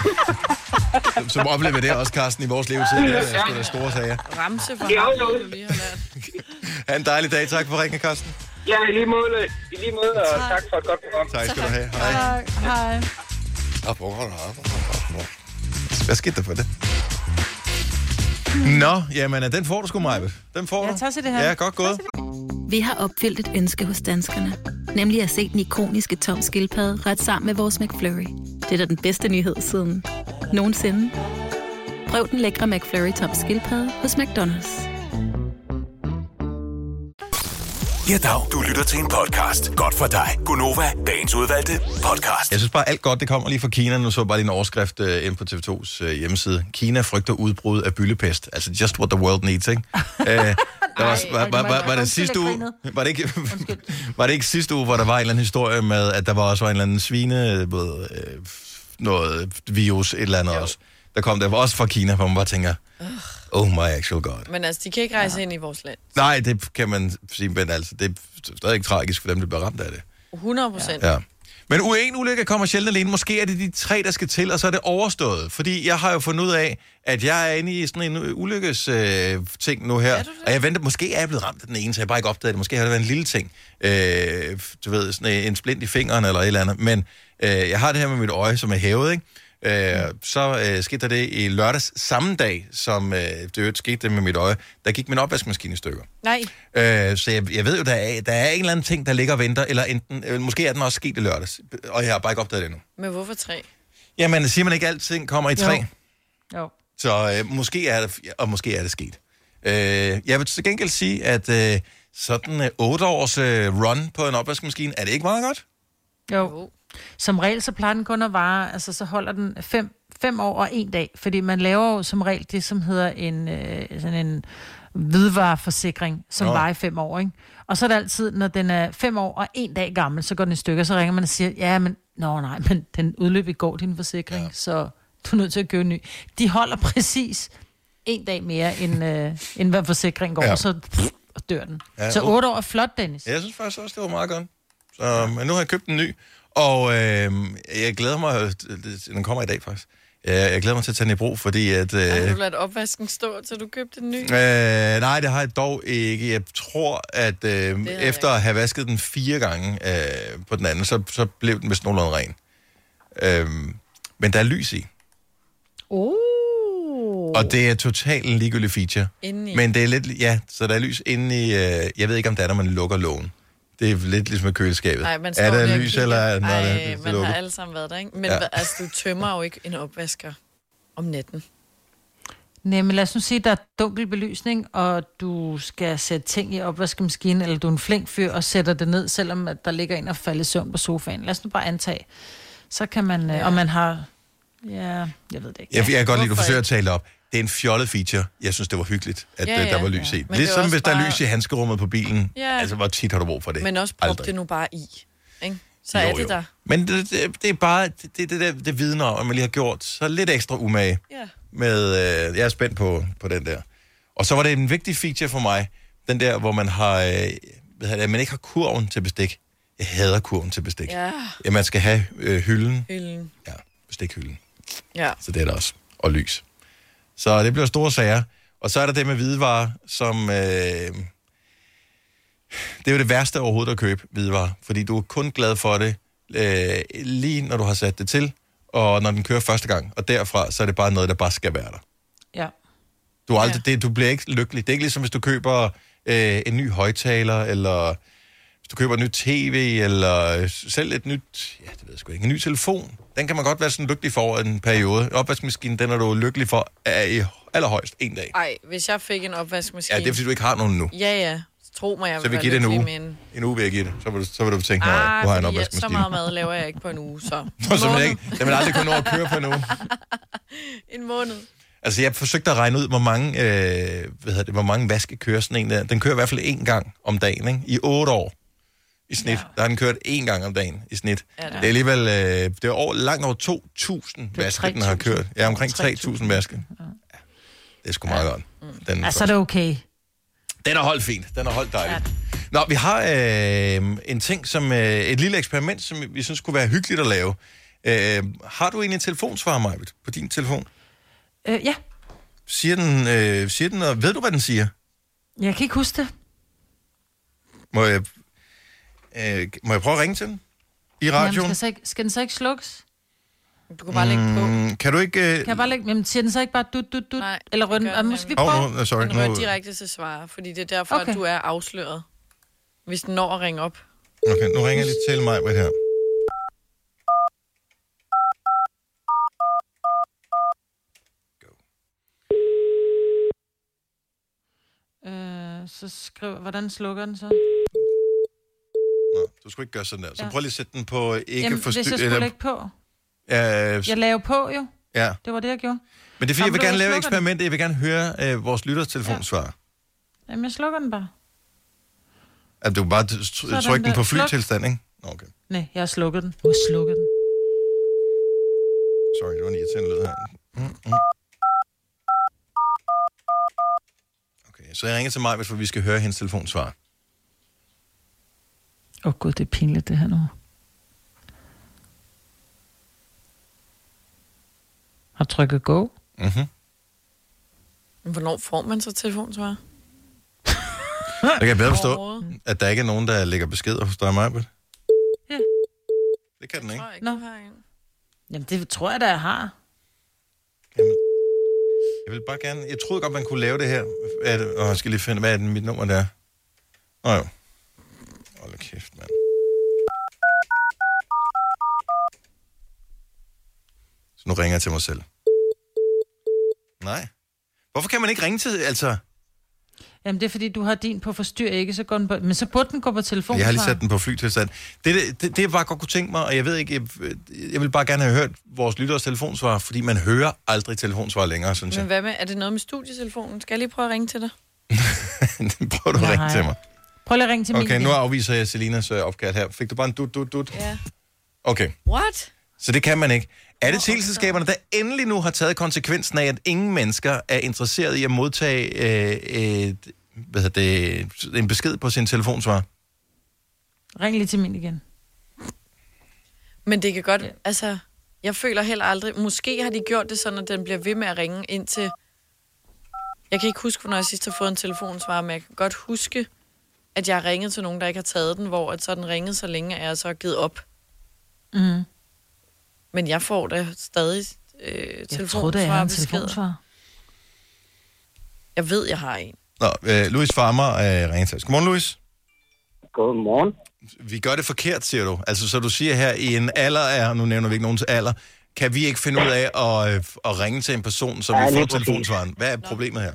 A: Som- Som oplever det også, Carsten, i vores levetid. Det er sgu da store sager.
B: Ramse for
C: Det er
B: ham,
C: aflukket.
B: du lige har lært.
A: Ha' en dejlig dag. Tak for ringen, Carsten.
C: Ja, i lige måde, i lige måde og tak for et godt program.
A: Tak skal du have. Hej.
D: Tak, hej.
A: Op, op, op, op, op, op. Hvad skete der for det? Nå, jamen, den får du sgu, Maja. Den får
D: Ja,
A: du.
D: tak skal du have.
A: Ja, godt gået.
I: Vi har opfyldt et ønske hos danskerne. Nemlig at se den ikoniske tom skildpadde ret sammen med vores McFlurry. Det er da den bedste nyhed siden nogensinde. Prøv den lækre McFlurry tom skildpadde hos McDonald's.
E: Ja, dag. Du lytter til en podcast. Godt for dig. Gunova, dagens udvalgte podcast.
A: Jeg synes bare, alt godt det kommer lige fra Kina. Nu så jeg bare lige en overskrift øh, inde på TV2's øh, hjemmeside. Kina frygter udbrud af byllepest. Altså, just what the world needs, ikke? Øh, der var, var, var, var, var, det sidste uge, var, det ikke, var det ikke sidste uge, hvor der var en eller anden historie med, at der var også var en eller anden svine, øh, både, øh, noget virus, et eller andet også. Der kom der var også fra Kina, hvor man bare tænker, oh my actual god.
B: Men altså, de kan ikke rejse ja. ind i vores land.
A: Nej, det kan man sige, men altså, det er stadig ikke tragisk for dem, der bliver ramt af det.
B: 100 procent. Ja.
A: Ja. Men en ulykke kommer sjældent alene. Måske er det de tre, der skal til, og så er det overstået. Fordi jeg har jo fundet ud af, at jeg er inde i sådan en ulykkes øh, ting nu her.
B: du det?
A: Og jeg venter, måske er jeg blevet ramt af den ene, så jeg har bare ikke opdaget det. Måske har det været en lille ting. Øh, du ved, sådan en splint i fingeren eller et eller andet. Men øh, jeg har det her med mit øje, som er hævet, ikke? Øh, så øh, skete der det i lørdags samme dag, som øh, det i øvrigt skete det med mit øje. Der gik min opvaskemaskine i stykker.
B: Nej,
A: Øh, så jeg, jeg ved jo, der er, der er en eller anden ting, der ligger og venter, eller enten, øh, måske er den også sket i lørdags, og jeg har bare ikke opdaget det endnu.
B: men hvorfor tre?
A: Jamen, siger man ikke, at alting kommer i tre?
D: Jo. Jo.
A: Så øh, måske er det, og måske er det sket. Øh, jeg vil til gengæld sige, at øh, sådan øh, otte års øh, run på en opvaskemaskine, er det ikke meget godt?
D: Jo. Som regel, så plejer den kun at vare, altså så holder den fem, fem år og en dag, fordi man laver jo som regel det, som hedder en, øh, sådan en hvidvareforsikring, som
A: Nå.
D: Nå. varer i fem år, ikke? Og så er det altid, når den er fem år og en dag gammel, så går den i stykker, så ringer man og siger, ja, men, nå nej, men den udløb i går, din forsikring, ja. så du er nødt til at købe en ny. De holder præcis en dag mere, end, øh, end hvad forsikringen går,
A: Ja.
D: ja. så pff, og dør den.
A: Ja,
D: Ja, så
A: u-
D: otte år er flot, Dennis.
A: Ja, jeg synes faktisk også, det var meget godt. Så, men nu har jeg købt en ny, og øh, jeg glæder mig, øh, den kommer i dag faktisk, jeg, jeg glæder mig til at tage den i brug, fordi at... Øh,
B: Har du ladt opvasken stå, til du købte en ny?
A: Øh, nej, det har jeg dog ikke. Jeg tror, at øh,
B: jeg
A: efter at have vasket den fire gange øh, på den anden, så, så blev den vist nogenlunde ren. Øh, men der er lys i,
B: Uh.
D: Oh.
A: og det er totalt en ligegyldig feature.
B: Indeni.
A: Men det er lidt, ja, så der er lys inde i, øh, jeg ved ikke om det er, når man lukker lågen. Det er lidt ligesom med køleskabet.
B: Nej, man står
A: er der
B: lige og
A: lys,
B: kigger.
A: eller er
B: Ej,
A: det, det
B: man har
A: lukket?
B: alle sammen været der, ikke? Men
A: Ja.
B: ja. altså, du tømmer jo ikke en opvasker om natten.
D: Nej, men lad os nu sige, at der er dunkel belysning, og du skal sætte ting i opvaskemaskinen, eller du er en flink fyr og sætter det ned, selvom at der ligger en og falder i søvn på sofaen. Lad os nu bare antage. Så kan man, ja. og man har... Ja, jeg ved det ikke.
A: Jeg, jeg kan godt lide, at du
B: Hvorfor
A: forsøger at tale det op. Det er en fjollet feature. Jeg synes, det var hyggeligt, at
B: Ja,
A: ja, ja, der
B: ja,
A: var lys
B: ja.
A: i.
B: Men det er
A: Ligesom
B: også
A: hvis der er
B: bare-
A: lys i handskerummet på bilen. Ja.
B: Ja.
A: Altså, hvor tit har du brug for det?
B: Men også prop
A: Aldrig.
B: det nu bare i, ikke? Så jo, er det der.
A: Men det, det, det er bare, det, det, det, der, det vidner om, at man lige har gjort så lidt ekstra umage
B: Ja.
A: med, øh, jeg er spændt på, på den der. Og så var det en vigtig feature for mig, den der, hvor man har, øh, hvad hedder det, at man ikke har kurven til bestik. Jeg hader kurven til bestik.
B: Ja,
A: Ja, man skal have øh, hylden,
B: hylden.
A: ja, bestikhylden,
B: Ja.
A: så det er der også, og lys. Så det bliver store sager. Og så er der det med hvidevarer, som, øh, det er jo det værste overhovedet at købe hvidevarer, fordi du er kun glad for det øh, lige når du har sat det til, og når den kører første gang. Og derfra, så er det bare noget, der bare skal være der.
D: Ja.
A: Du, er aldrig, ja. det, du bliver ikke lykkelig. Det er ikke ligesom, hvis du køber øh, en ny højtaler, eller hvis du køber et nyt tv, eller selv et nyt, ja, det ved jeg sgu ikke, en ny telefon. Den kan man godt være sådan lykkelig for over en periode. Opvaskemaskinen, den er du lykkelig for er i allerhøjst en dag.
B: Ej, hvis jeg fik en opvaskemaskine...
A: Ja, det er, fordi du ikke har nogen nu.
B: Ja, ja. Tro mig, jeg
A: Så
B: vil
A: vi
B: være
A: giver det en
B: lykkelig
A: uge.
B: med en-
A: En uge vil jeg give det. Så vil du, så vil du tænke, nej,
B: Ah,
A: nu har jeg en
B: fordi jeg, så
A: opvaskemaskine.
B: meget mad laver jeg ikke på en uge, så...
A: Nå, så vil jeg ikke. Jeg vil aldrig kunne nå at køre på en uge.
B: en måned.
A: Altså, jeg forsøgte at regne ud, hvor mange, øh, hvad hedder det, hvor mange vaske kører sådan en der. Den kører i hvert fald én gang om dagen, ikke? I otte år i snit. Ja. Der har den kørt én gang om dagen i snit. Ja,
B: Ja,
A: det
B: da.
A: er alligevel, øh, det er over, langt over 2.000 vaske, den har
D: 3.000.
A: kørt. Ja, omkring 3.000 vaske. Ja. Mm. Det er sgu meget godt. Den,
D: Altså, er det okay.
A: den har holdt fint. Den har holdt dejligt. Nå, vi har øh, en ting, som øh, et lille eksperiment, som vi synes kunne være hyggeligt at lave. Øh, har du egentlig en telefonsvarer, Majbet, på din telefon?
D: Øh, ja,
A: Siger den, øh, siger den, og ved du, hvad den siger?
D: jeg kan ikke huske det.
A: Må jeg, øh, må jeg prøve at ringe til den? I
D: Jamen,
A: radioen?
D: skal, så ikke, skal den så ikke slukkes?
B: Du kan bare lægge på.
A: Mm, kan du ikke... Øh,
D: Kan jeg bare lægge, jamen, siger den så ikke bare dut, dut, dut?
B: Nej,
D: eller
B: det
D: rønne?
B: gør
D: Ah,
B: den
D: måske vi
B: nemlig.
A: Åh,
D: prøver?
A: oh, no, sorry.
B: Den hører
A: Nu,
B: direkte til svare, fordi det er derfor,
D: Okay.
B: at du er afsløret. Hvis den når at ringe op.
A: okay, nu ringer jeg lige til mig her.
D: Øh, så skriv, hvordan slukker den så?
A: Nå, du skulle ikke gøre sådan der. Så
D: Ja.
A: prøv lige at sætte den på øh, ikke
D: Jamen, hvis jeg
A: forstyrre...
D: skulle lægge på.
A: øh,
D: Jeg laver på jo.
A: ja.
D: Det var det, jeg gjorde.
A: Men det er fordi, jeg
D: Jamen,
A: vil
D: du
A: gerne lave et
D: slukker den.
A: eksperiment. Jeg vil gerne høre øh, vores lytters telefonsvar.
D: Jamen, jeg slukker den bare.
A: At du kan bare t-
D: Sådan
A: t- trykke den
D: der.
A: på
D: øh, Sluk.
A: flytilstand, ikke? Nå, okay.
D: Nej, jeg har slukket den. Jeg har slukket den.
A: Sorry, det var en irriterende lyd her. Mm, mm. Okay, så jeg ringer til mig, for vi skal høre hendes telefonsvar.
D: Åh oh, gud, det er pinligt, det her nu. Har trykket go?
A: Mm-hmm.
B: Men hvornår får man så telefonsvar?
A: Jeg kan jeg bedre forstå,
B: Overhovedet.
A: at der ikke er nogen, der lægger beskeder hos dig, Majbet.
D: Ja.
A: Det kan den
B: Jeg
A: ikke.
B: tror ikke,
D: Nå.
B: du har en.
D: Jamen, det tror jeg da, jeg har.
A: Jeg vil bare gerne... Jeg troede godt, man kunne lave det her. Er det... Åh, jeg skal lige finde, hvad er det, mit nummer der er. Nå jo. Hold da kæft, mand. Så nu ringer jeg til mig selv. Nej. Hvorfor kan man ikke ringe til... Altså,
D: Jamen, det er fordi, du har din på forstyr, ikke? Så går den på... Men så burde den gå på telefon.
A: jeg har lige sat den på flytilstand. Det, det, det, det jeg bare godt kunne tænke mig, og jeg ved ikke... Jeg, jeg vil bare gerne have hørt vores lytteres telefonsvar, fordi man hører aldrig telefonsvar længere, synes
B: Men
A: jeg.
B: hvad med, er det noget med studietelefonen? Skal jeg lige prøve at ringe til dig?
A: Prøv du at ringe
D: Nej.
A: til mig.
D: Prøv lige at ringe til min.
A: Okay, nu afviser jeg Selinas øh, opkald her. Fik du bare en dut, dut, dut?
B: Ja.
A: Okay,
B: What?
A: så det kan man ikke. Er det teleselskaberne, der endelig nu har taget konsekvensen af, at ingen mennesker er interesseret i at modtage øh, et, hvad hedder det, en besked på sin telefonsvar?
D: Ring lige til min igen.
B: Men det kan godt... Altså, jeg føler heller aldrig... Måske har de gjort det sådan, at den bliver ved med at ringe indtil... Jeg kan ikke huske, hvornår jeg sidst har fået en telefonsvar, men jeg kan godt huske, at jeg har ringet til nogen, der ikke har taget den, hvor at så den ringede så længe, at jeg så har givet op.
D: Mm.
B: Men jeg får da stadig øh,
D: Jeg troede, det
B: telefonsvar
D: er en
B: beskeder.
D: telefonsvar.
B: Jeg ved, jeg har en.
A: Nå, øh, Louis Farmer øh, ringer til os. Godmorgen, Louis.
H: Godmorgen.
A: Vi gør det forkert, siger du. Altså, så du siger her, i en alder af, nu nævner vi ikke nogens alder, kan vi ikke finde ud af at, øh, at ringe til en person, som
H: Ja,
A: vi får
H: lige præcis.
A: telefonsvaren? Hvad er problemet her?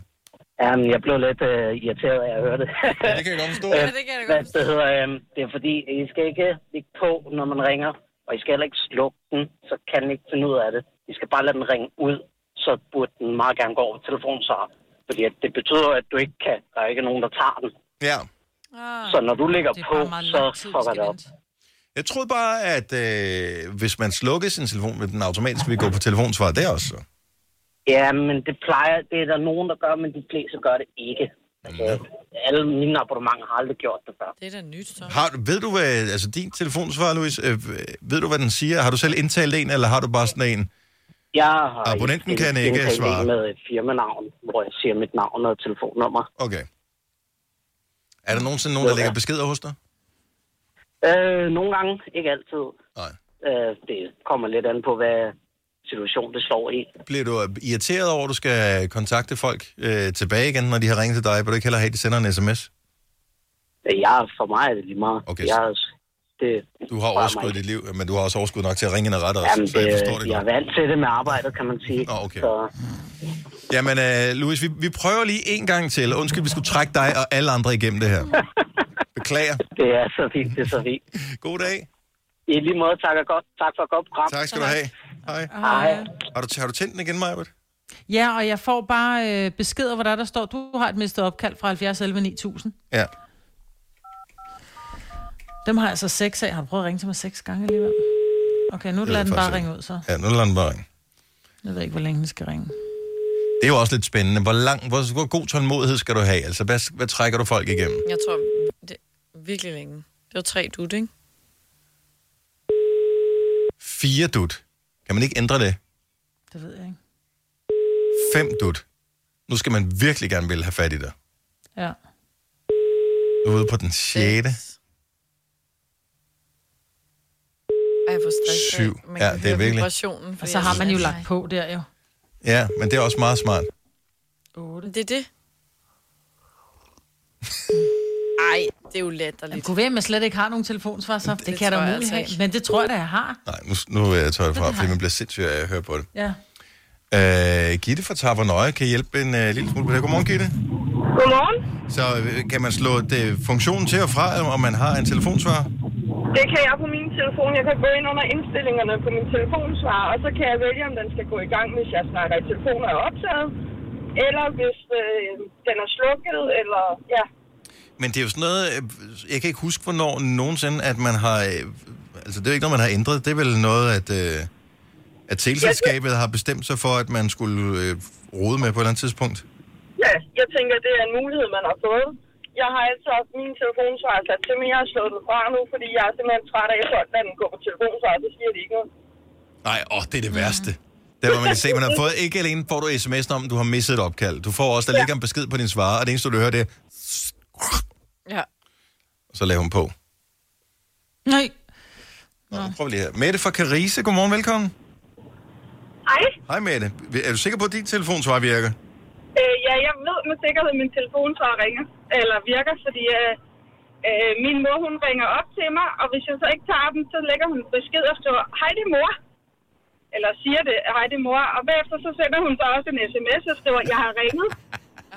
H: Jamen, jeg blev lidt øh, irriteret af at høre det.
A: Ja, det kan jeg godt forstå.
B: Ja, det kan jeg da godt
H: Hvad det hedder, øh, det er fordi, I skal ikke ligge på, når man ringer, og I skal heller ikke slukke den, så kan I ikke finde ud af det. I skal bare lade den ringe ud, så burde den meget gerne gå over til telefonsvarer. Fordi at det betyder, at du ikke kan, der er ikke nogen, der tager den.
A: Ja.
H: Så når du ligger
D: Det er
H: på,
D: bare meget
H: så
D: lang tid, vi
H: fucker
D: skal
H: det op.
D: vente.
A: Jeg troede bare, at øh, hvis man slukkede sin telefon, vil den automatisk vil gå på telefonsvaret der også.
H: Ja, men det plejer, det er der nogen, der gør, men de fleste gør det ikke. Altså, alle mine abonnementer har aldrig gjort det før.
B: Det er da nyt, så.
A: Har, du- ved du, hvad, altså din telefonsvar, Louise, øh, ved du, hvad den siger? Har du selv indtalt en, eller har du bare sådan en?
H: Jeg har
A: Abonnenten
H: indtalt-
A: kan ikke
H: indtalt en
A: svare.
H: med et firmanavn, hvor jeg siger mit navn og telefonnummer.
A: Okay. Er der nogensinde nogen, der lægger beskeder hos dig?
H: Øh, nogle gange, ikke altid.
A: Nej.
H: Øh, det kommer lidt an på, hvad situation det står i.
A: Bliver du irriteret over, at du skal kontakte folk øh, tilbage igen, når de har ringet til dig? Vil du ikke hellere have, at de sender en sms?
H: Øh, Jeg, for mig er det lige meget.
A: Okay.
H: Jeg, det...
A: Du har
H: rører mig
A: overskud i dit liv, men du har også overskud nok til at ringe ind og rette os,
H: Jamen,
A: så jeg forstår det
H: jeg
A: godt.
H: er vant til det med arbejdet, kan man sige.
A: Nå, okay.
H: Så,
A: Jamen, øh, Louis, vi, vi prøver lige en gang til. Undskyld, vi skulle trække dig og alle andre igennem det her. Beklager.
H: det er så fint, det er så fint.
A: God dag.
H: I lige måde, tak, og godt, tak for et godt program.
A: Tak skal du have. Hej.
H: Hej.
A: Har du, har du tændt den igen, Majbert?
D: Ja, og jeg får bare øh, beskeder, hvor der, der står, du har et mistet opkald fra 70 11 9000.
A: Ja.
D: Dem har jeg så seks af. Har du prøvet at ringe til mig seks gange alligevel? Okay, nu
A: ved
D: lader den
A: jeg
D: bare
A: faktisk
D: ringe ud, så.
A: Ja, nu lader den bare ringe.
D: Jeg ved ikke, hvor længe den skal ringe.
A: Det er jo også lidt spændende. Hvor, lang, hvor, hvor god tålmodighed skal du have? Altså, hvad, hvad trækker du folk igennem?
B: Jeg tror det er virkelig længe. Det var tre dut, ikke?
A: Fire dut. Kan man ikke ændre det?
D: Det ved jeg ikke.
A: Fem dut. Nu skal man virkelig gerne vil have fat i dig.
D: Ja.
A: Du er ude på den sjette.
B: Seks. Ej, jeg får stress. af.
A: Syv.
B: Man
A: Ja,
B: kan
A: det er
B: høre
A: virkelig.
B: vibrationen,
D: Og
B: fordi
D: så har
B: jeg-
D: man jo lagt på der jo.
A: Ja, men det er også meget smart.
D: 8.
B: Det er det. Ej, det er jo
D: Jamen,
B: latterligt.
D: kunne være, at man slet ikke har nogen telefonsvar, så det, det kan jeg da
B: tror jeg
D: umuligt
B: altså
D: have.
B: ikke.
D: Men det tror jeg da, jeg har.
A: Nej, nu, nu øh, tager jeg det fra, fordi man bliver sindssyg af at høre på det.
D: Ja.
A: Øh, Gitte fra Tavernøje kan hjælpe en øh, lille smule på det. Godmorgen, Gitte.
J: Godmorgen.
A: Så øh, kan man slå det, funktionen til og fra, om man har en telefonsvar?
J: Det kan jeg på min telefon. Jeg kan gå ind under indstillingerne på min telefonsvar, og så kan jeg vælge, om den skal gå i gang, hvis jeg snakker i telefonen og er optaget, eller hvis øh, den er slukket, eller ja.
A: Men det er jo sådan noget, øh, jeg kan ikke huske, hvornår nogensinde, at man har... øh, Altså, det er jo ikke noget, man har ændret. Det er vel noget, at, øh, at teleselskabet har bestemt sig for, at man skulle øh, rode med på et eller andet tidspunkt.
J: Ja, jeg tænker, det er en mulighed, man har fået. Jeg har altså haft min telefonsvar sat til, men jeg har slået den fra nu, fordi jeg er simpelthen træt af, at jeg folk lader den gå på telefonsvar, det siger de ikke noget.
A: Nej, åh, det er det værste. Der hvor man kan se, man har fået, ikke alene får du sms'en om, du har misset et opkald. Du får også, der ligger en besked på din svarer, og det eneste, du hører, det er,
B: Ja.
A: og så laver hun på.
D: Nej.
A: Nå, nu prøver vi lige her. Mette fra Carise, godmorgen, velkommen.
J: Hej.
A: Hej Mette, er du sikker på, at din telefonsvar virker?
J: Øh, ja, jeg ved med sikkerhed, at min telefon så ringer, eller virker, fordi øh, øh, min mor, hun ringer op til mig, og hvis jeg så ikke tager den, så lægger hun besked og skriver, hej det er mor, eller siger det, hej det er mor, og bagefter så sender hun så også en sms og skriver, jeg har ringet,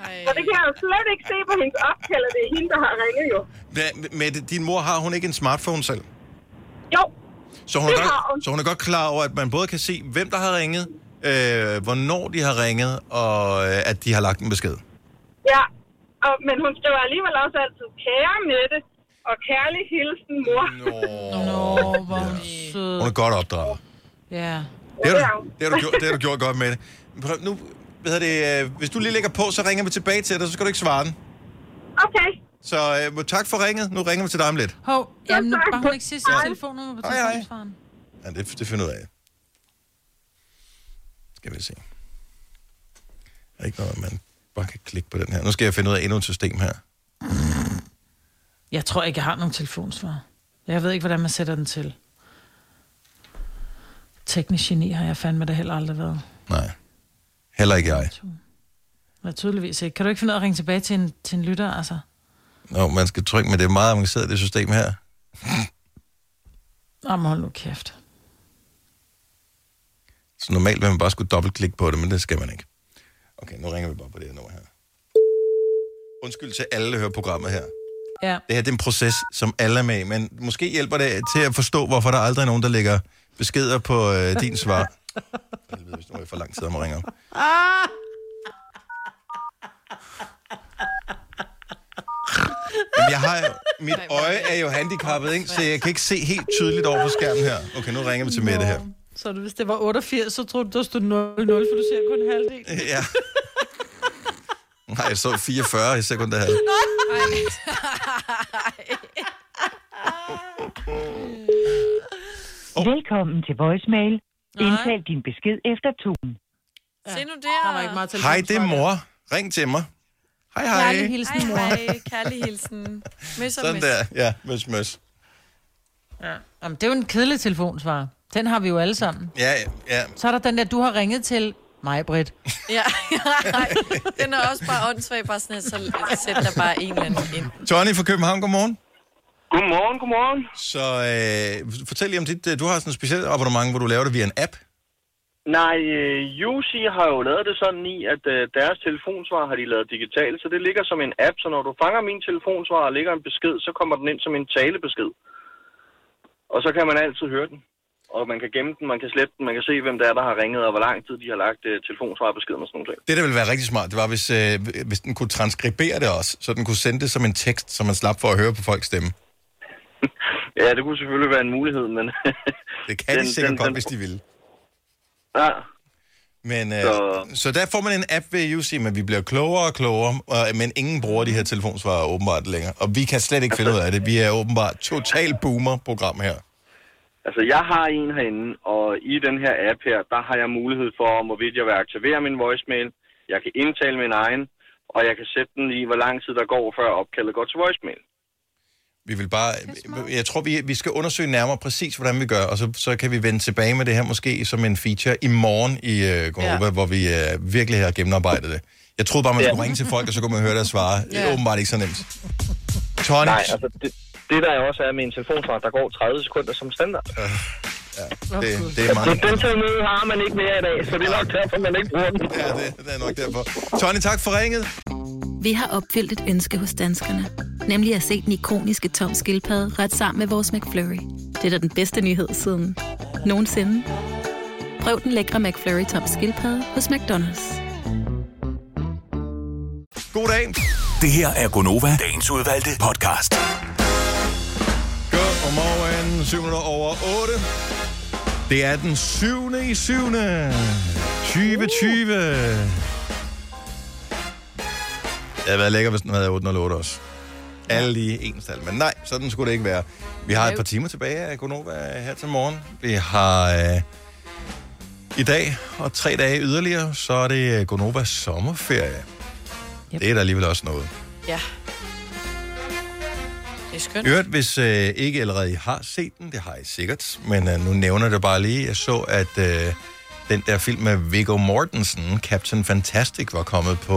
B: Ej.
J: og det kan jeg jo slet ikke se på hendes opkald, at det er hende, der har ringet jo.
A: Hva- Mette, din mor har hun ikke en smartphone selv?
J: Jo,
A: Så hun, er
J: Det har hun.
A: godt, så hun er godt klar over, at man både kan se, hvem der har ringet, øh, hvornår de har ringet, og øh, at de har lagt en besked.
J: ja, og, men hun skriver alligevel også altid, kære Mette, og kærlig hilsen, mor.
A: Nå,
D: Åh, hvor er hun sød.
A: hun er godt opdraget.
D: Ja.
A: Det
J: Ja.
A: har du, det har du, gjort, det har du gjort godt med det. Prøv, nu, hvad hedder det, øh, hvis du lige lægger på, så ringer vi tilbage til dig, så skal du ikke svare den.
J: Okay,
A: Så øh, tak for ringet. Nu ringer vi til dig om lidt.
D: Hov, jamen nu
J: tak.
D: bare hun ikke sige sit
J: Hej.
D: telefonnummer på
A: Hej, hej.
D: telefonsvaren.
A: Ja, det, det finder ud af. Skal vi se. Der er ikke noget, man bare kan klikke på den her. Nu skal jeg finde ud af endnu et system her.
D: Jeg tror ikke, jeg har nogen telefonsvar. Jeg ved ikke, hvordan man sætter den til. Teknisk geni har jeg fandme da heller aldrig været.
A: Nej. Heller ikke jeg.
D: Men tydeligvis ikke. Kan du ikke finde ud af at ringe tilbage til en, til en lytter, altså?
A: Nå, man skal trykke, men det er meget avanceret, det system her.
D: Nå, men hold nu kæft.
A: Så normalt vil man bare skulle dobbeltklikke på det, men det skal man ikke. Okay, nu ringer vi bare på det her nummer her. Undskyld til alle, der hører programmet her.
D: Ja.
A: Det her det er en proces, som alle er med i, men måske hjælper det til at forstå, hvorfor der aldrig er nogen, der lægger beskeder på øh, din svar. Jeg ved, hvis nu er jeg for lang tid om at ringe op. Jamen, jeg har jo, mit øje er jo handicappet, ikke? så jeg kan ikke se helt tydeligt over på skærmen her. Okay, nu ringer vi til Mette her.
D: Så du, hvis det var 88, så troede du, der stod 00, for du ser kun halvdelen.
A: Ja. Nej, jeg så 44 i sekunder her.
K: Velkommen til voicemail.
D: Nej.
K: Indtal din besked efter tonen.
B: Se nu der.
D: Der var ikke meget telefonsvar.
A: Hej, det er mor. Ring til mig. Hej, hej.
D: Kærlig hilsen,
B: Hej,
D: mor.
B: hej. Kærlig hilsen. Møs og
A: Sådan
B: møs.
A: der. Ja, møs, møs.
D: Jamen, det er jo en kedelig telefonsvar. Den har vi jo alle sammen.
A: Ja, ja, ja.
D: Så er der den der, du har ringet til mig, Britt.
B: Ja, nej. Den er også bare åndssvag, bare sådan, at så sæt der bare en eller anden ind.
A: Johnny fra København, godmorgen.
L: Godmorgen, godmorgen.
A: Så øh, fortæl lige om dit... øh, Du har sådan et specielt abonnement, hvor du laver det via en app.
L: Nej, øh, UC har jo lavet det sådan i, at øh, deres telefonsvar har de lavet digitalt, så det ligger som en app, så når du fanger min telefonsvar og lægger en besked, så kommer den ind som en talebesked. Og så kan man altid høre den. Og man kan gemme den, man kan slette den, man kan se, hvem der er, der har ringet, og hvor lang tid de har lagt øh, telefonsvarbeskeden og sådan noget.
A: Det, der ville være rigtig smart, det var, hvis, øh, hvis den kunne transkribere det også, så den kunne sende det som en tekst, så man slap for at høre på folks stemme.
L: Ja, det kunne selvfølgelig være en mulighed, men...
A: det kan de sikkert godt, hvis de vil.
L: Ja.
A: Men, øh, så... så der får man en app ved UC, men vi bliver klogere og klogere, og, øh, men ingen bruger de her telefonsvarer åbenbart længere. Og vi kan slet ikke finde ud af det. Vi er åbenbart total boomer-program her.
L: Altså, jeg har en herinde, og i den her app her, der har jeg mulighed for, om hvorvidt jeg vil aktivere min voicemail, jeg kan indtale min egen, og jeg kan sætte den i, hvor lang tid der går, før opkaldet går til voicemail.
A: Vi vil bare, jeg tror, vi, vi skal undersøge nærmere præcis, hvordan vi gør, og så, så kan vi vende tilbage med det her måske som en feature i morgen i øh, Gonova, ja. hvor vi øh, virkelig har gennemarbejdet det. Jeg troede bare, man
L: Ja.
A: skulle ringe til folk, og så kunne man høre deres svare. Det er
L: Ja.
A: åbenbart ikke så nemt. Tony,
L: Nej, altså, det, det der også er med en telefonsvar, der går 30 sekunder som standard. Ja,
A: det- det er mange-
L: Altså, den teknologi har man ikke mere i dag, så det er nok derfor, man ikke bruger den.
A: Ja, det, det er nok derfor. Tony, tak for ringet.
I: Vi har opfyldt et ønske hos danskerne. Nemlig at se den ikoniske tom skildpadde ret sammen med vores McFlurry. Det er da den bedste nyhed siden nogensinde. Prøv den lækre McFlurry tom skildpadde hos McDonald's.
A: God dag.
E: Det her er Gonova, dagens udvalgte podcast.
A: Godmorgen, 7 minutter over 8. Det er den 7. i 7. 2020. Det havde været lækker, hvis den havde 8 og 8 også. Alle lige ens tal. Men nej, sådan skulle det ikke være. Vi har et par timer tilbage af Gonova øh, her til morgen. Vi har øh, i dag og tre dage yderligere, så er det øh, Gonovas sommerferie. Yep. Det er der alligevel også noget.
B: Ja. Det er skønt.
A: Øvrigt, hvis øh, ikke allerede I har set den, det har I sikkert, men øh, nu nævner jeg det bare lige. Jeg så, at øh, den der film med Viggo Mortensen, Captain Fantastic, var kommet på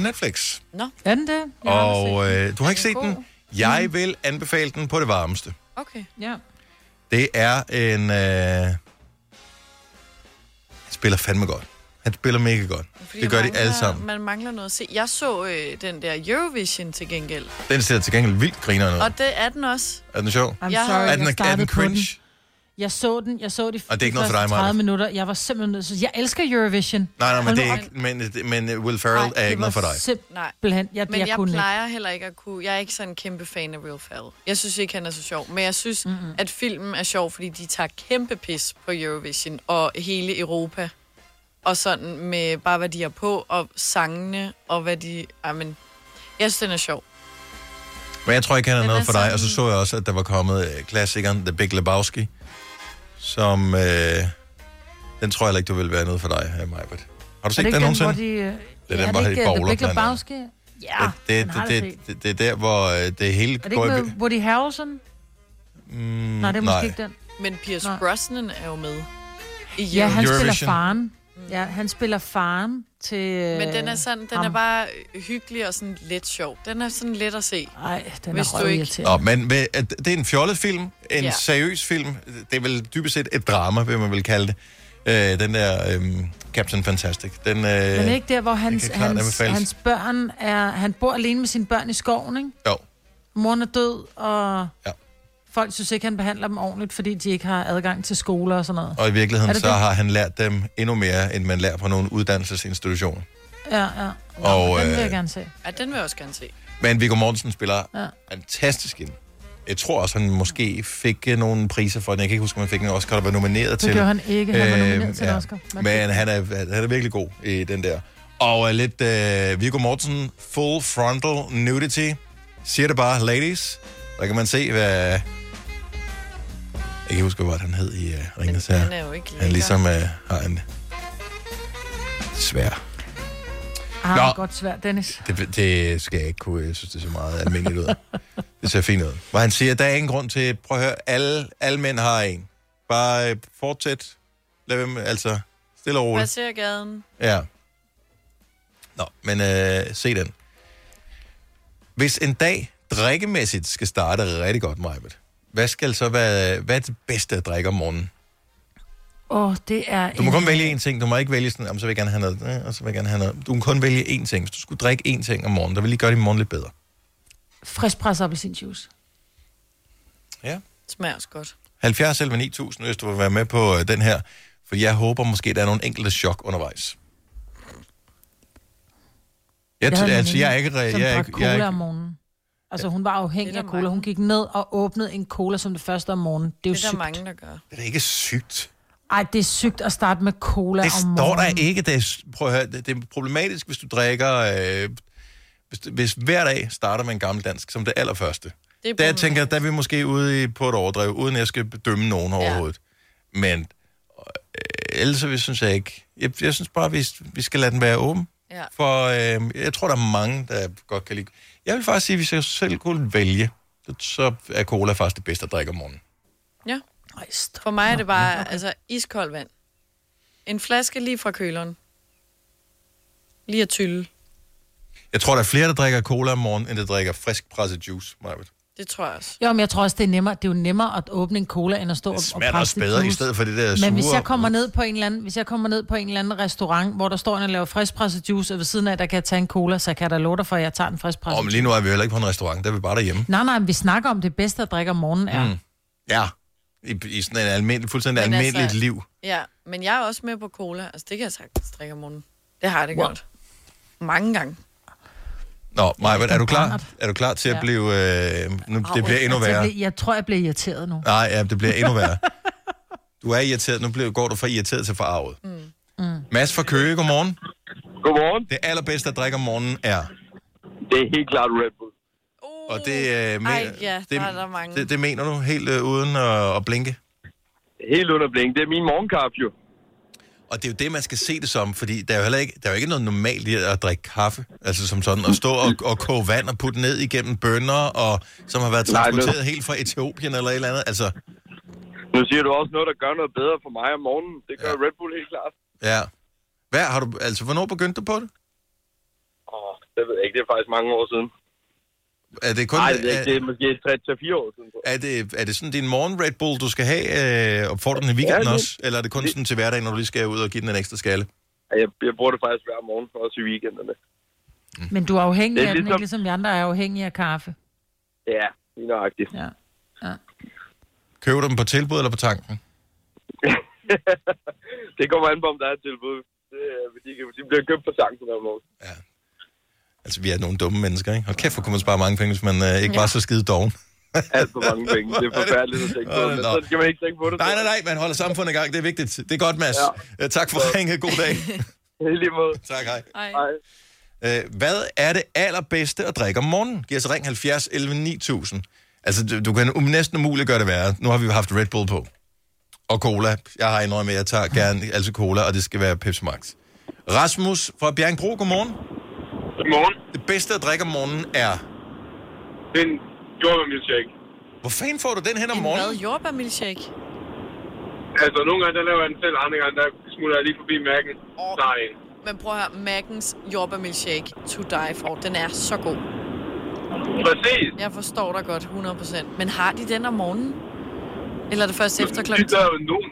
A: Netflix.
B: Nå.
D: Er den det? Jeg har aldrig
A: Og
D: set den. Mm.
A: øh, du har ikke set den? Jeg vil anbefale den på det varmeste.
B: Okay.
D: Ja.
A: Det er en... Øh, han spiller fandme godt. Han spiller mega godt.
B: Fordi
A: det
B: der
A: gør de
B: mangler-
A: alle sammen.
B: Man mangler noget at se. Jeg så øh, den der Eurovision til gengæld.
A: Den ser til gengæld vildt griner ud.
B: Og det er den også.
A: Er den sjov?
D: I'm
B: Jeg har-
D: sorry,
A: er den,
D: jeg
A: er
D: startede
A: den
D: på den.
A: cringe?
D: Jeg så den, jeg så de,
A: Og det er ikke
D: de
A: noget for dig,
D: første
A: Maja.
D: 30 minutter. Jeg var simpelthen nødt til... Jeg elsker Eurovision.
A: Nej, nej,
D: Hold
A: men, det
D: nu
A: er
D: op.
A: ikke, men, men øh, Will Ferrell
D: Nej,
A: er
D: det
A: ikke noget for
D: var
A: dig.
D: Simpelthen. Jeg,
B: Men jeg, jeg
D: kunne ikke.
B: plejer heller ikke at kunne... Jeg er ikke sådan en kæmpe fan af Will Ferrell. Jeg synes ikke, han er så sjov. Men jeg synes, mm-hmm. at filmen er sjov, fordi de tager kæmpe pis på Eurovision og hele Europa. Og sådan med bare, hvad de har på, og sangene, og hvad de... Ej, men jeg synes, den er sjov.
A: Men jeg tror ikke, han er
B: Den
A: noget
B: er
A: for dig.
B: sådan-
A: Og så så jeg også, at der var kommet øh, klassikeren The Big Lebowski, som... Øh, den tror jeg heller ikke, du vil være noget for dig, øh, Majbert. Har du set den,
D: Er det ikke den,
A: nogensinde?
D: hvor de... øh,
A: den,
D: er
A: hvor de
D: ikke øh,
A: bowler
D: The Big
A: blandt andet.
D: Lebowski? Ja,
A: det,
D: den har
A: det,
D: jeg
A: det,
D: set.
A: det, det, er der, hvor øh, det hele
D: Er det ikke
A: i-
D: med Woody Harrelson?
A: Mm,
D: Nej, det er måske
A: nej.
D: ikke den.
B: Men Pierce nej. Brosnan er jo med. I
D: Ja, han spiller
A: Eurovision.
D: faren. Ja, han spiller faren til øh,
B: Men den er sådan, den er bare hyggelig og sådan lidt sjov. Den er sådan let at se.
D: Nej, den
B: Hvis du ikke...
A: Nå, men ved- at det er en fjollet film, en
B: Ja.
A: ja. seriøs film. Det er vel dybest set et drama, vil man vel kalde det. Øh, den der øh, Captain Fantastic. Den, øh,
D: Men ikke der, hvor hans,
A: kan klart
D: hans,
A: anbefales.
D: hans børn er... Han bor alene med sine børn i skoven, ikke?
A: Jo.
D: Moren er død, og ja. folk synes ikke, han behandler dem ordentligt, fordi de ikke har adgang til skoler og sådan noget.
A: Og i virkeligheden,
D: Er det
A: så
D: det?
A: har han lært dem endnu mere, end man lærer på nogle uddannelsesinstitutioner.
D: Ja, ja.
A: Og,
D: den vil
A: øh,
D: jeg gerne se.
B: Ja, den vil jeg også gerne se.
A: Men Viggo Mortensen spiller
D: Ja.
A: ja. fantastisk ind. Jeg tror også, han måske fik øh, nogle priser for den. Jeg kan ikke huske, om han fik en Oscar, der var nomineret
D: Det
A: til. Øhm,
D: gjorde han ikke. Han var nomineret til en Oscar. Man fik
A: Men han er, han er virkelig god i den der. Og øh, lidt øh, Viggo Mortensen, full frontal nudity. Siger det bare, ladies. Der kan man se, hvad... Jeg kan ikke huske, hvad han hed i øh, Ringens her.
B: han er jo ikke
A: Han
B: lækker.
A: ligesom øh, har en svær
D: Ah,
A: Nå.
D: Nå. godt svært, Dennis.
A: det, det skal jeg ikke kunne. Jeg synes, det ser meget almindeligt ud. Det ser fint ud. Hvor han siger, der er ingen grund til... Prøv at høre, alle, alle mænd har en. Bare øh, fortsæt. Lad dem, altså, stille og
B: Hvad
A: roligt.
B: ser gaden?
A: Ja. Nå, men øh, se den. Hvis en dag drikkemæssigt skal starte rigtig godt, Majbet, hvad skal så være, hvad er det bedste at drikke om morgenen?
D: Åh, oh, det er...
A: Du må kun vælge én ting. Du må ikke vælge sådan, "Jamen, så vil jeg gerne have noget, øh, og så vil jeg gerne have noget. Du kan kun vælge én ting. Hvis du skulle drikke én ting om morgenen, der ville lige gøre din morgen lidt bedre.
D: friskpresset appelsinjuice.
A: Ja.
B: Smager også godt.
A: 70 eller 9000, hvis du vil være med på øh, den her. For jeg håber måske, der er nogle enkelte chok undervejs. Jeg, jeg,
D: havde en
A: altså, jeg er
D: veninde,
A: ikke... re- Jeg,
D: som
A: er
D: drak
A: ikke,
D: cola
A: jeg er
D: om
A: ikke
D: morgenen. Altså, hun var afhængig af cola. Hun gik ned og åbnede en cola som det første om morgenen. Det er jo
B: Det er der
D: sygt.
B: mange, der gør.
A: det er ikke sygt.
D: Ej, det er sygt at starte med cola
A: Det
D: om
A: står der
D: morgenen.
A: ikke. Det er, s- prøv at høre, det, det er problematisk, hvis du drikker... Øh, hvis, hvis hver dag starter med en gammeldansk som det allerførste.
B: Det er
A: Der tænker jeg, der er vi måske ude i, på et overdrev, uden at jeg skal bedømme nogen overhovedet. Men øh, ellers så vil- synes jeg ikke... Jeg, jeg synes bare, vi, vi skal lade den være åben.
B: Ja.
A: For øh, jeg tror, der er mange, der godt kan lide... Jeg vil faktisk sige, hvis jeg selv kunne vælge, så er cola faktisk det bedste at drikke om morgenen.
B: Ja. For mig er det bare altså, iskoldt vand. En flaske lige fra køleren. Lige at tylle.
A: Jeg tror, der er flere, der drikker cola om morgenen, end der drikker frisk presset juice, Marvitt.
B: Det tror jeg også.
D: Jo, men jeg tror også, det er nemmere. Det er jo nemmere at åbne en cola, end at stå og
A: smager da
D: presse
A: også
D: lidt
A: bedre,
D: juice.
A: i stedet for det der
D: Men hvis
A: sure-
D: jeg, kommer ned på en eller anden, hvis jeg kommer ned på en eller anden restaurant, hvor der står en og laver friskpresset juice, og ved siden af, der kan jeg tage en cola, så kan jeg da love dig for, at jeg tager en friskpresset
A: Og
D: juice.
A: lige nu er vi heller ikke på en restaurant, der er vi bare derhjemme.
D: Nej, nej, men vi snakker om det bedste at drikke om morgenen er.
A: Mm. Ja, i, i sådan en almindelig, fuldstændig
B: Men
A: almindeligt
B: altså-
A: liv.
B: Ja, men jeg er også med på cola. Altså, det kan jeg sagtens drikke om morgenen. Det har jeg det wow. gjort. Mange gange.
A: Nå, Maja, er du klar? Er du klar til at
D: Ja.
A: blive... Øh, nu,
D: Au,
A: det bliver endnu
D: altså, jeg
A: værre.
D: bliver- Jeg tror, jeg bliver irriteret nu.
A: Nej, ja, det bliver endnu værre. Du er irriteret. Nu bliver, går du fra irriteret til forarvet.
D: Mm.
A: Mads fra Køge, godmorgen.
M: Godmorgen.
A: Det allerbedste at drikke om morgenen er...
M: Det er helt klart Red Bull.
A: Og det, øh, men,
B: Ej, ja,
A: det,
B: der er der mange.
A: det, det mener du helt øh, uden at, at blinke?
M: Helt uden at blinke. Det er min morgenkaffe jo.
A: Og det er jo det, man skal se det som, fordi der er jo heller ikke, der er jo ikke noget normalt i at drikke kaffe, altså som sådan, at stå og, og koge vand og putte ned igennem bønder, og, som har været
M: Nej, det-
A: transporteret helt fra Etiopien eller et eller andet. Altså,
M: Nu siger du også noget, der gør noget bedre for mig om morgenen. Det gør ja. Red Bull helt klart.
A: ja. Hvad har du, altså, hvornår begyndte du på det?
M: Åh, det ved jeg ikke. Det er faktisk mange år siden.
A: Er det kun...
M: Nej, det, er
A: er-
M: ikke. det er måske 3-4 år siden.
A: Er det, er det sådan din morgen Red Bull, du skal have, øh, og får du den i weekenden
M: Ja,
A: ja,
M: det-
A: også? Eller er det kun sådan til hverdagen, når du lige skal ud og give den en ekstra skalle?
M: Jeg, jeg bruger det faktisk hver morgen, også i weekenderne.
D: Men du er afhængig
M: Det er
D: af den, ikke
M: ligesom-
D: ligesom vi andre er afhængige af kaffe.
M: Ja, lige nøjagtigt.
D: Ja.
A: Køber du dem på tilbud eller på tanken?
M: Det kommer an på, om der er et tilbud. Det, er- de, kan- de bliver købt på tanken hver morgen.
A: Altså, vi er nogle dumme mennesker, ikke? Hold kæft, hvor kunne man spare mange penge, hvis man øh, ikke
M: Ja.
A: var så skide doven.
M: Alt for mange penge. Det er forfærdeligt at tænke på.
A: Åh,
M: Men
A: nå.
M: så skal man ikke tænke på det.
A: Nej, nej, nej, man holder samfundet i gang, det er vigtigt. Det er godt, Mads. Ja. Tak for ringet. God dag.
M: lige måde.
A: Tak, hej.
M: Hej.
A: Øh, hvad er det allerbedste at drikke om morgenen? Giv os ring 70 11 9000. Altså, du, du kan um, næsten umuligt gøre det værre. Nu har vi jo haft Red Bull på. Og cola. Jeg har indrømmet, at jeg tager gerne altså cola, og det skal være Pepsi Max. Rasmus fra Bjerringbro, godmorgen.
N: Godmorgen.
A: Det bedste at drikke om morgenen er...
N: Den jordbærmilkshake.
A: Hvor fanden får du den hen om
B: Morgen. Hvad?
A: morgenen?
B: Jordbærmilkshake?
N: Altså, nogle gange, der laver jeg den selv, andre gange, der smutter jeg lige forbi mærken. Oh. Der er en.
B: Men prøv at høre, Mackens jordbærmilkshake to die for. Den er så god.
N: Præcis.
B: Jeg forstår dig godt, 100%. Men har de den om morgenen? Eller er det først efter klokken
N: Det er jo nogen.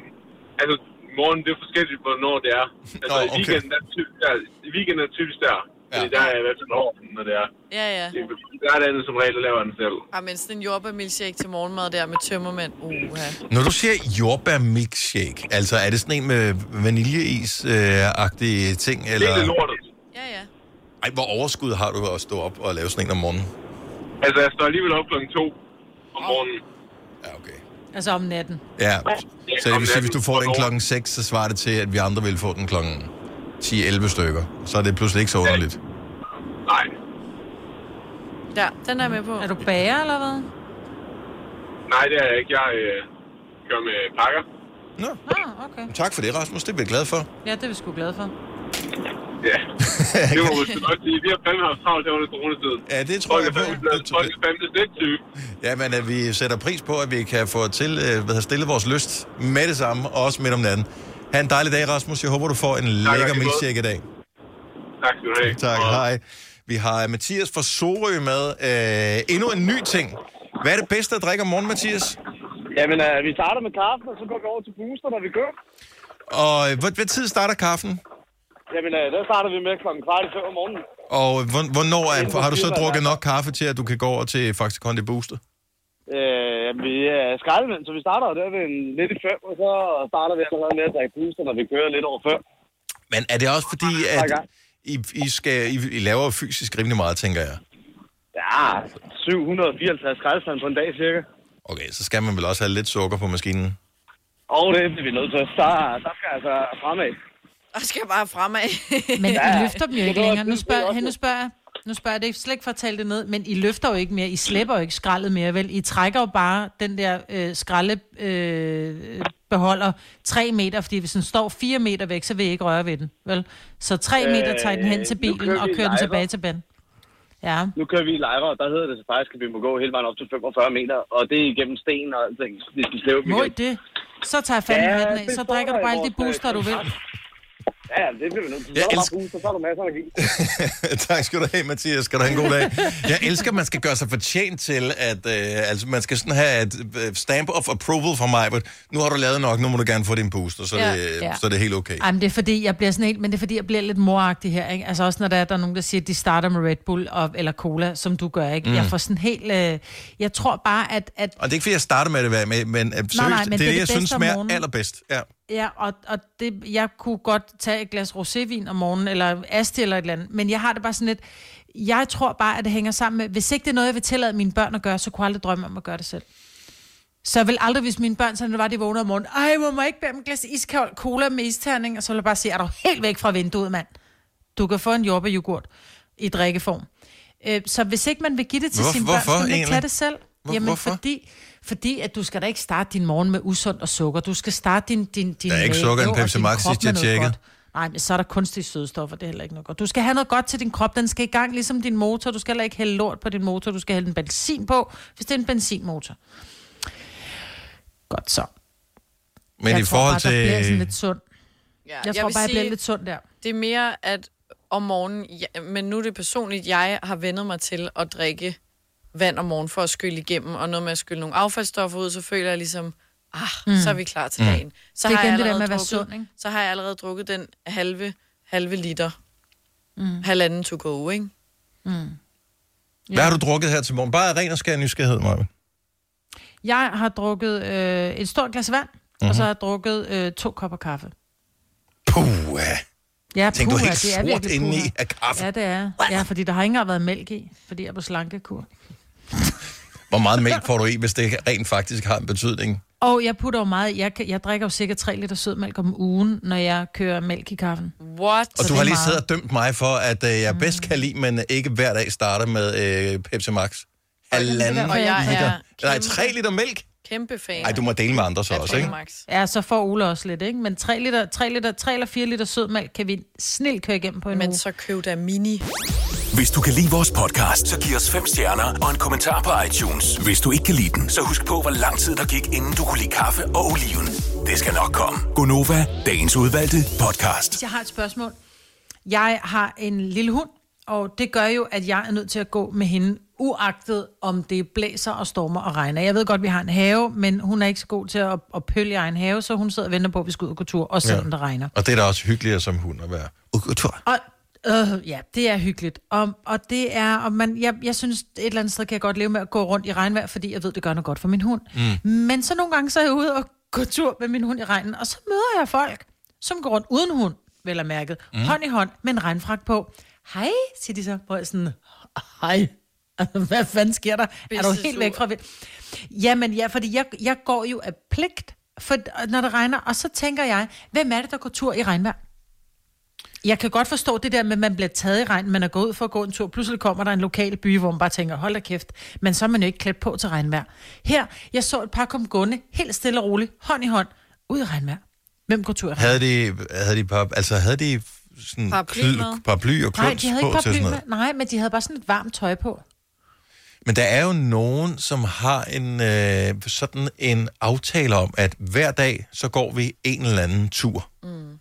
N: Altså, morgen, det er forskelligt, hvornår det er. Altså,
B: Nå,
N: i weekenden, der er typisk der. I weekenden er typisk der. Ja. Der er jeg i hvert fald over, når det er.
B: Ja, ja.
N: Der er det andet som regel, der laver jeg den selv.
B: Ah, men sådan en jordbærmilkshake til morgenmad der med tømmermænd. Uha.
A: Når du siger jordbær milkshake, altså er det sådan en med vaniljeis-agtige ting? Eller...
N: Hele lortet.
B: Ja, ja.
A: Ej, hvor overskud har du at stå op og lave sådan en om morgenen?
N: Altså, jeg står alligevel op klokken to om morgenen.
D: Altså om natten.
A: Ja, så det vil sige, hvis du får den klokken 6, så svarer det til, at vi andre vil få den klokken 10-11 stykker. Så er det pludselig ikke så underligt.
N: Nej.
B: Ja, den er jeg med på. Er
D: du bager eller hvad?
N: Nej, det er jeg ikke. Jeg øh, kører med pakker.
A: Nå.
D: Ah, okay.
A: Tak for det, Rasmus. Det er vi glad for.
D: Ja, det er vi sgu glade for.
N: Ja. Det må man sgu nok sige. Vi har fandme haft travlt her under coronatiden.
A: Ja, det tror jeg på.
N: Folk er fandme lidt syge.
A: Ja, men at vi sætter pris på, at vi kan få til, øh, hvad hedder, stille vores lyst med det samme, og også midt om natten. Ha' en dejlig dag, Rasmus. Jeg håber, du får en lækker
N: lige måde.
A: milkshake i dag.
N: Tak skal du have.
A: Tak, hej. Vi har Mathias fra Sorø med. Øh, endnu en ny ting. Hvad er det bedste at drikke om morgenen, Mathias?
O: Jamen, øh, vi starter med kaffen, og så går vi over til booster, når vi kører.
A: Og øh, hvad, hvad tid starter kaffen?
O: Jamen, øh, der starter vi med klokken kvart i fem om morgenen.
A: Og øh, hvor- hvornår
O: Inden
A: er,
O: for
A: har du så
O: firmaet,
A: drukket nok kaffe til, at du kan gå over til Faxe Kondi Booster?
O: Øh, jamen, vi er skraldemænd, så vi starter jo der ved en, lidt i fem, og så starter vi allerede med at drikke booster, når vi kører lidt over før.
A: Men er det også fordi, at I, I, skal, I, I laver fysisk rimelig meget, tænker jeg?
O: Ja, 754 skraldespand på en dag cirka.
A: Okay, så skal man vel også have lidt sukker på maskinen?
O: Og det er vi nødt til. Så der skal altså fremad.
B: Og skal jeg bare fremad.
D: Men I løfter dem jo ikke længere. Nu spørger, hey, nu spørger jeg. Nu spørger jeg, det er slet ikke for at tale det ned, men I løfter jo ikke mere, I slipper jo ikke skraldet mere, vel? I trækker jo bare den der øh, skraldebeholder øh, beholder tre meter, fordi hvis den står fire meter væk, så vil I ikke røre ved den, vel? Så tre
O: Øh,
D: meter tager I den hen til
O: nu kører
D: bilen
O: vi
D: og kører den
O: live.
D: tilbage til banen. Ja.
O: Nu kører vi i lejre, og der hedder det så faktisk, at vi må gå hele vejen op til 45 meter, og det er igennem sten og alting. så Vi skal slæve dem
D: Må I
O: igen.
D: det? Så tager jeg fandme
O: Ja,
D: ja, hatten af,
O: det
D: så
O: står
D: drikker
O: der
D: du bare
O: i
D: alle de
O: vores, øh,
D: booster, du vil.
O: Ja, ja, det bliver vi nødt til. Så
A: Jeg
O: er der bare
A: elsker-
O: booster, så er der masser af energi.
A: tak skal du have, Mathias. Skal du have en god dag. Jeg elsker, at man skal gøre sig fortjent til, at øh, altså, man skal sådan have et øh, stamp of approval fra mig, but nu har du lavet nok, nu må du gerne få din booster, så, ja. det, ja. så er det helt okay.
D: Ej, men det er fordi, jeg bliver sådan helt, men det er fordi, jeg bliver lidt moragtig her, ikke? Altså også når der er, der er nogen, der siger, at de starter med Red Bull og, eller cola, som du gør, ikke?
A: Mm.
D: Mm. Jeg får sådan helt, øh, jeg tror bare, at, at
A: Og det er ikke, fordi jeg starter med det, hvad- med, men, øh, seriøst,
D: nej, men
A: det er det, jeg
D: bedste
A: synes
D: om
A: smager
D: morgenen.
A: allerbedst. Ja.
D: Ja, og, og det, jeg kunne godt tage et glas rosévin om morgenen, eller asti eller et eller andet, men jeg har det bare sådan lidt, jeg tror bare, at det hænger sammen med, hvis ikke det er noget, jeg vil tillade mine børn at gøre, så kunne jeg aldrig drømme om at gøre det selv. Så jeg vil aldrig, hvis mine børn, sådan det var, de vågnede om morgenen, ej, må jeg ikke bære dem et glas iskold cola med isterning, og så vil jeg bare sige, er du helt væk fra vinduet, mand? Du kan få en jordbærjoghurt i drikkeform. Øh, så hvis ikke man vil give det til
A: Hvor-
D: sine børn,
A: hvorfor
D: så kan man ikke
A: egentlig?
D: tage det selv.
A: Hvor-
D: Jamen,
A: hvorfor?
D: Fordi, fordi at du skal da ikke starte din morgen med usundt og sukker. Du skal starte din, din, din
A: Der er ikke
D: mave
A: sukker i en
D: og
A: Pepsi
D: din
A: Max,
D: krop
A: sidst jeg
D: med noget
A: tjekkede.
D: godt. Nej, men så er der kunstige sødestoffer, det er heller ikke noget godt. Du skal have noget godt til din krop, den skal i gang, ligesom din motor. Du skal heller ikke hælde lort på din motor, du skal hælde en benzin på, hvis det er en benzinmotor. Godt så.
A: Men
D: jeg
A: i
D: tror
A: forhold
D: bare, der bliver sådan
A: til...
D: lidt sund.
B: Ja,
D: Jeg tror
B: vil
D: bare, jeg bliver lidt sund der.
B: Det er mere, at om morgenen, ja, men nu er det personligt, jeg har vendet mig til at drikke vand om morgenen for at skylle igennem, og noget med at skylle nogle affaldsstoffer ud, så føler jeg ligesom, ah, mm.
D: Mm.
B: så er vi klar til
D: Mm.
B: dagen. Så
D: Det er
B: har,
D: igen
B: jeg
D: det der
B: allerede
D: med at være
B: drukket-
D: sund, ikke?
B: så har jeg allerede drukket den halve, halve liter, mm. halvanden to go, ikke?
D: Mm.
A: Hvad har du drukket her til morgen? Bare ren og skær nysgerrighed, Maja.
D: Jeg har drukket øh, et stort glas vand, mm-hmm.
A: Mhm.
D: og så har jeg drukket øh, to kopper kaffe.
A: Puh,
D: Ja,
A: Tænk, du er
D: puha,
A: helt
D: det er
A: sort
D: virkelig
A: indeni
D: puha.
A: af kaffe.
D: Ja, det er. Ja, fordi der har ikke engang været mælk i, fordi jeg er på slankekur.
A: Hvor meget mælk får du i, hvis det rent faktisk har en betydning?
D: Og jeg putter jo meget, jeg, kan- jeg drikker jo cirka 3 liter sødmælk om ugen, når jeg kører mælk i kaffen.
B: What?
A: Og du har lige siddet og dømt mig for, at øh, jeg bedst kan lide, men ikke hver dag starter med øh, Pepsi Max. Halvanden
B: Og jeg er
A: liter. Nej,
B: kæmpe-
A: tre liter mælk?
B: Kæmpe fan.
A: Nej, du må dele med andre så
B: af
A: også, ikke?
B: Max.
D: Ja, så får Ole også lidt, ikke? Men 3, liter, 3, liter, 3 eller 4 liter sødmælk kan vi snilt køre igennem på en Men uge.
B: så køb der mini.
E: Hvis du kan lide vores podcast, så giv os fem stjerner og en kommentar på iTunes. Hvis du ikke kan lide den, så husk på, hvor lang tid der gik, inden du kunne lide kaffe og oliven. Det skal nok komme. Gonova, dagens udvalgte podcast.
D: Jeg har et spørgsmål. Jeg har en lille hund, og det gør jo, at jeg er nødt til at gå med hende, uagtet om det blæser og stormer og regner. Jeg ved godt, vi har en have, men hun er ikke så god til at, at pølge i egen have, så hun sidder og venter på, at vi skal ud og gå tur, også selvom ja. det regner.
A: Og det er da også hyggeligere som hund at være. Uh, tur.
D: Og, øh, ja, det er hyggeligt. Og, og det er, og man, jeg, jeg synes, et eller andet sted kan jeg godt leve med at gå rundt i regnvejr, fordi jeg ved, det gør noget godt for min hund. Mm. Men så nogle gange, så er jeg ude og gå tur med min hund i regnen, og så møder jeg folk, som går rundt uden hund, vel og mærket, mm. hånd i hånd, med en regnfrak på. Hej, siger de så, hvor jeg sådan, hej, Altså, hvad fanden sker der? Er du
P: Bedste
D: helt
P: tur.
D: væk fra vind? Jamen ja, fordi jeg, jeg går jo af pligt, for, når det regner, og så tænker jeg, hvem er det, der går tur i regnvejr? Jeg kan godt forstå det der med, at man bliver taget i regn, man er gået ud for at gå en tur, pludselig kommer der en lokal by, hvor man bare tænker, hold da kæft, men så er man jo ikke klædt på til regnvejr. Her, jeg så et par kom gående, helt stille og roligt, hånd i hånd, ud i regnvejr. Hvem går tur i regnvejr?
A: Havde de, havde de, par, altså, havde de sådan
D: Paraply med.
A: kl- paraply og
D: Nej,
A: kluns
D: de havde
A: på til
D: ikke paraply
A: sådan
D: med.
A: noget?
D: Nej, men de havde bare sådan et varmt tøj på.
A: Men der er jo nogen, som har en øh, sådan en aftale om, at hver dag, så går vi en eller anden tur. Mm.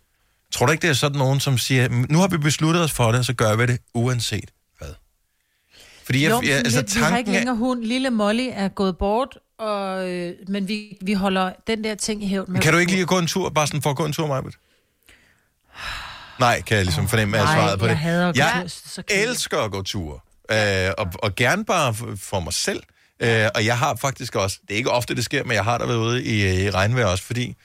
A: Tror du ikke, det er sådan nogen, som siger, nu har vi besluttet os for det, så gør vi det uanset hvad? Fordi jeg,
D: Jo,
A: jo, jeg,
D: men
A: altså
D: vi, vi har ikke
A: tanken er...
D: længere hund. Lille Molly er gået bort, og, øh, men vi, vi holder den der ting i hævn.
A: Men Kan du ikke lige gå en tur, bare sådan for at gå en tur, Majbet? Nej, kan jeg ligesom fornemme, at jeg
D: nej,
A: svaret på det.
D: jeg hader at gå
A: jeg
D: tur, så
A: elsker at gå ture, øh, og, og gerne bare f- for mig selv. Øh, og jeg har faktisk også, det er ikke ofte, det sker, men jeg har der været ude i, øh, i regnvejr også, fordi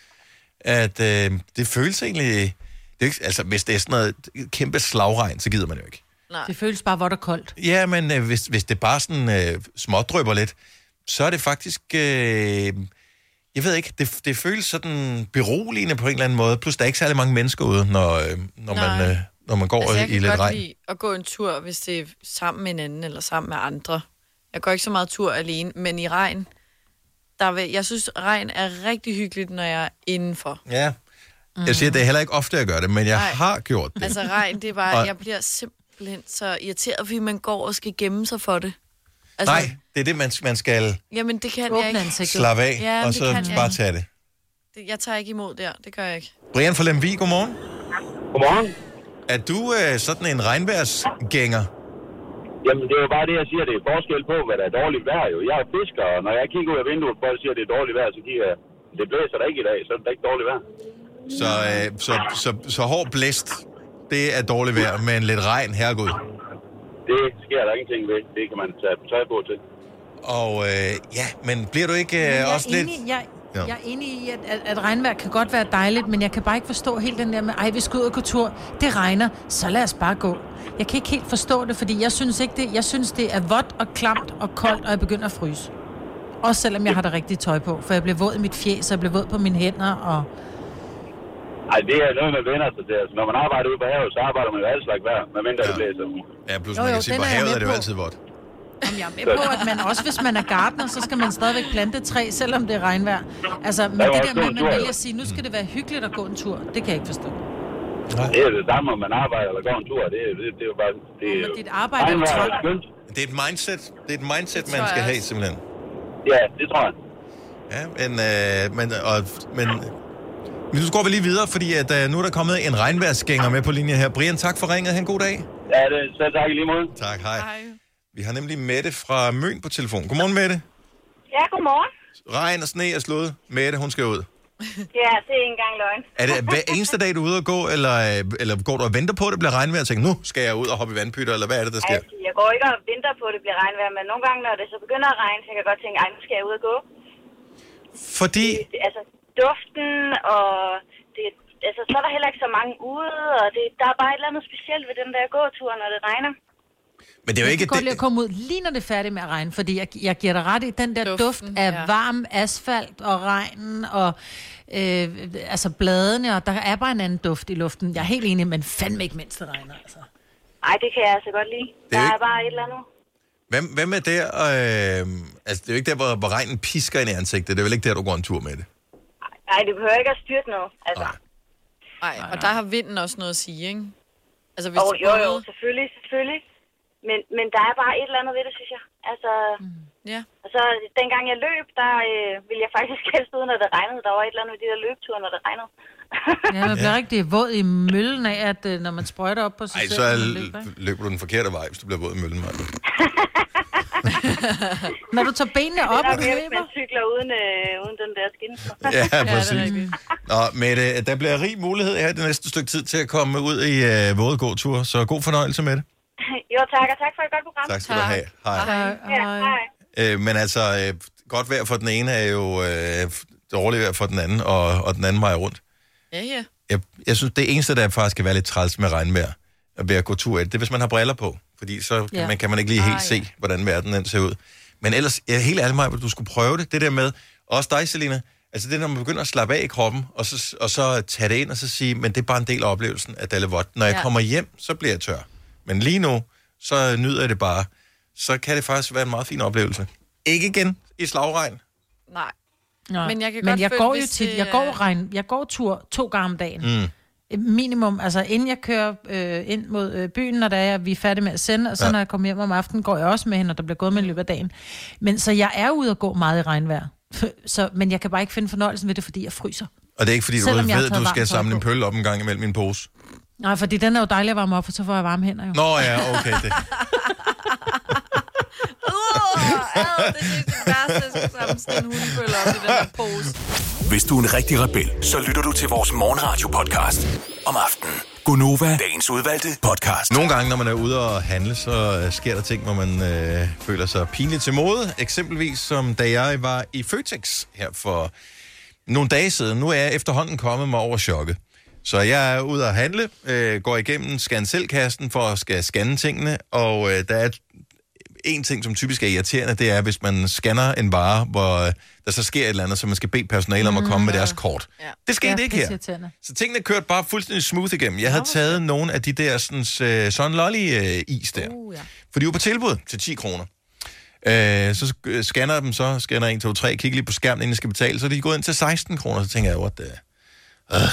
A: at øh, det føles egentlig... Det er ikke, altså, hvis det er sådan noget kæmpe slagregn, så gider man jo ikke.
D: Nej. Det føles bare vådt og koldt.
A: Ja, men øh, hvis, hvis det bare sådan øh, smådrypper lidt, så er det faktisk... Øh, jeg ved ikke, det, det føles sådan beroligende på en eller anden måde. Plus, der er ikke særlig mange mennesker ude, når, øh, når,
B: Nej.
A: man, øh, når man går
B: altså,
A: altså,
B: jeg
A: i
B: kan
A: lidt
B: godt
A: regn.
B: lide at gå en tur, hvis det er sammen med en anden eller sammen med andre. Jeg går ikke så meget tur alene, men i regn, der vil, jeg synes, regn er rigtig hyggeligt, når jeg er indenfor.
A: Ja. Jeg siger, det er heller ikke ofte, jeg gør det, men jeg
B: Mm. Nej.
A: Nej. har gjort det.
B: Altså regn, det er bare,
A: Og-
B: jeg bliver simpelthen så irriteret, fordi man går og skal gemme sig for det.
A: Altså, Nej, det er det, man, man skal
B: Jamen, det kan
D: Åbne
B: jeg ikke.
D: ansigtet.
A: slappe af,
B: Ja,
A: ja, og
B: det
A: så
B: kan jeg
A: bare
B: ikke.
A: tage det.
B: Det- Jeg tager ikke imod der, det gør jeg ikke.
A: Brian fra Lemvig, godmorgen.
Q: Godmorgen.
A: Er du øh, sådan en regnværsgænger?
Q: Jamen, det er jo bare det, jeg siger. Det er forskel på, hvad der er dårligt vejr jo. Jeg er fisker, og når jeg kigger ud af vinduet, og folk siger, at det er dårligt vejr, så kigger jeg, det blæser der ikke i dag, så er det da ikke dårligt vejr.
A: Så, øh, så, så, så hård blæst, det er dårligt vejr, men lidt regn, herregud.
Q: Det sker der ingenting ved. Det kan man tage tøj på til.
A: Og øh, ja, men bliver du ikke øh, også
D: jeg, er
A: lidt...
D: enig, jeg,
A: Ja.
D: jeg er enig i, at, at, at regnvejr kan godt være dejligt, men jeg kan bare ikke forstå helt den der med, ej, vi skal ud og gå tur, det regner, så lad os bare gå. Jeg kan ikke helt forstå det, fordi jeg synes ikke det, jeg synes det er vådt og klamt og koldt, og jeg begynder at fryse. Også selvom jeg har det rigtige tøj på, for jeg bliver våd i mit fjes, og jeg bliver våd på mine hænder, og...
Q: Ej, det er noget, man vender sig til. Altså, når man arbejder ude på havet, så arbejder man jo alle slags vejr, medmindre ja. det blæser.
A: Ja, plus
D: Jo, man jo, kan sige, den på er jeg havet med er det jo på. altid
A: vådt.
D: Jamen, jeg er med på, at man også, hvis man er gartner, så skal man stadigvæk plante et træ, selvom det er regnvejr. Altså, men
Q: Der er
D: det
Q: jo
D: der
Q: også
D: med,
Q: god
D: at man
Q: tur, jo.
D: vælger at sige, nu skal det være hyggeligt at gå en tur, det kan jeg ikke forstå.
Q: Det er det samme, om man arbejder eller går en tur. Det, det, det er jo bare... Det, er jo-
D: dit arbejde er jo
Q: Regnvejr
D: tolv.
Q: skønt.
A: Det er et mindset, det er et mindset
Q: tror
A: man skal
Q: jeg
A: have,
Q: også.
A: simpelthen.
Q: Ja, det tror jeg.
A: Ja, men... Øh, men, og, men men nu går vi lige videre, fordi at, øh, nu er der kommet en regnværsgænger med på linje her. Brian, tak for ringet. Han god dag.
Q: Ja, det, så tak i lige måde.
A: Tak, hej. hej. Vi har nemlig Mette fra Møn på telefon. Godmorgen, Mette.
R: Ja, godmorgen.
A: Regn og sne er slået. Mette, hun skal ud.
R: Ja, det er ikke engang løgn.
A: Er det hver eneste dag, du er ude at gå, eller, øh, eller går du og venter på, at det bliver regnvejr, og tænker, nu skal jeg ud og hoppe i vandpytter, eller hvad er det, der sker?
R: Altså, jeg går ikke og venter på, at det bliver regnvejr, men nogle gange, når det så begynder at regne, så kan jeg godt tænke, ej, nu skal jeg ud og gå.
A: Fordi
R: Det, altså, duften, og det, altså, så er der heller ikke så mange ude, og det, der er bare et eller andet specielt ved den der gåtur, når det regner.
A: Men det er jo ikke
D: Jeg kan godt lide at komme ud, lige når det er færdigt med at regne, fordi jeg, jeg giver dig ret i den der Duften, duft af
R: ja.
D: ja. varm asfalt og regnen og øh, altså bladene, og der er bare en anden duft i luften. Jeg er helt enig, men fandme ikke, mens det regner. Altså.
R: Ej, det kan jeg altså godt lide.
A: er
R: Der
A: jo
R: er bare et eller andet.
A: Hvem, hvem er der? Øh, altså, det er jo ikke der, hvor, hvor regnen pisker ind i ansigtet. Det er vel ikke der, du går en tur med det.
R: Nej, det behøver ikke at styrte noget. Altså,
B: Nej, og der har vinden også noget at sige, ikke? Altså,
R: og,
B: det
R: jo, jo,
B: både-
R: selvfølgelig, selvfølgelig. Men, men der er bare et eller andet ved det, synes jeg. Altså,
A: Mm.
B: Ja.
R: Og så dengang jeg løb, der øh, ville jeg faktisk helst ud, når det regnede. Der var et eller andet ved de der løbeture, når det regnede.
D: Ja, man bliver ja. rigtig våd i møllen af, at øh, når man sprøjter op på sig
A: Ej,
D: selv.
A: så
D: når
A: er,
D: man løber, ikke?
A: løber du den forkerte vej, hvis du bliver våd i møllen. Maja.
D: Når du tager benene op, og
R: det er nok
D: du
R: mere,
D: løber.
R: hvis man cykler uden, øh, uden den der skin.
A: Ja, præcis. Nå, Mette, der bliver rig mulighed her det næste stykke tid til at komme ud i øh, våde gåtur, så god fornøjelse med det.
R: jo, tak, og tak for et godt program.
A: Tak skal du have. Hej.
R: Ja, hej.
A: Øh, men altså, øh, godt vejr for den ene er jo øh, dårligt vejr for den anden, og, og den anden vej rundt.
B: Ja, ja.
A: Jeg, jeg synes, det eneste, der faktisk kan være lidt træls med regnvejr, og ved at gå tur i det, det er, hvis man har briller på. Fordi så kan,
B: Ja.
A: ja. man, kan man ikke lige helt ah,
B: Ah, ja.
A: se, hvordan verden den ser ud. Men ellers, jeg er helt ærlig mig, at du skulle prøve det. Det der med, også dig, Selina, altså det, når man begynder at slappe af i kroppen, og så, og så tage det ind og så sige, men det er bare en del af oplevelsen, at det er lidt vådt. Når jeg
B: Ja.
A: kommer hjem, så bliver jeg tør. Men lige nu, så nyder jeg det bare. Så kan det faktisk være en meget fin oplevelse. Ikke igen i slagregn.
B: Nej.
D: Nå.
B: Men jeg kan
D: men
B: godt
D: jeg
B: føle,
D: går jo
B: hvis
D: tit,
B: det øh,
D: jeg
B: er-
D: går, regn, jeg går tur to gange om dagen.
A: Mm.
D: Minimum, altså inden jeg kører øh, ind mod øh, byen, når der er, vi er færdige med at sende, og så ja. når jeg kommer hjem om aftenen, går jeg også med hende, og der bliver gået med i løbet af dagen. Men så jeg er ude og gå meget i regnvejr. så, men jeg kan bare ikke finde fornøjelsen ved det, fordi jeg fryser.
A: Og det er ikke, fordi du
D: Selvom jeg har
A: ved, at
D: taget
A: du
D: varmt tøj
A: skal samle en
D: på.
A: pøl op en gang imellem min pose.
D: Nej, fordi den er jo dejlig at varme op, for så får jeg varme hænder jo.
A: Nå ja, okay. Det.
B: det er det værste, jeg skulle samle sådan en hundebølle op i den her pose.
E: Hvis du er en rigtig rebel, så lytter du til vores morgenradio-podcast om aftenen. Gunova, dagens udvalgte podcast.
A: Nogle gange, når man er ude og handle, så øh, sker der ting, hvor man øh, føler sig pinligt til mode. Eksempelvis som da jeg var i Føtex her for nogle dage siden. Nu er jeg efterhånden kommet mig over chokket. Så jeg er ude at handle, øh, går igennem scan kassen for at skal scanne tingene, og øh, der er en ting, som typisk er irriterende, det er, hvis man scanner en vare, hvor øh, der så sker et eller andet, så man skal bede personalet om at komme med deres kort. Mm. Ja. Det skete ikke her. Så tingene kørte bare fuldstændig smooth igennem. Jeg havde taget nogle af de der sådan, øh, sådan lolly øh, is der. Uh, ja. For de var på tilbud til 10 kroner. Øh, så sk- øh, scanner jeg dem så, scanner 1, 2, 3, kigger lige på skærmen, inden jeg skal betale, så er de gået ind til 16 kroner, så tænker jeg, what the... Øh.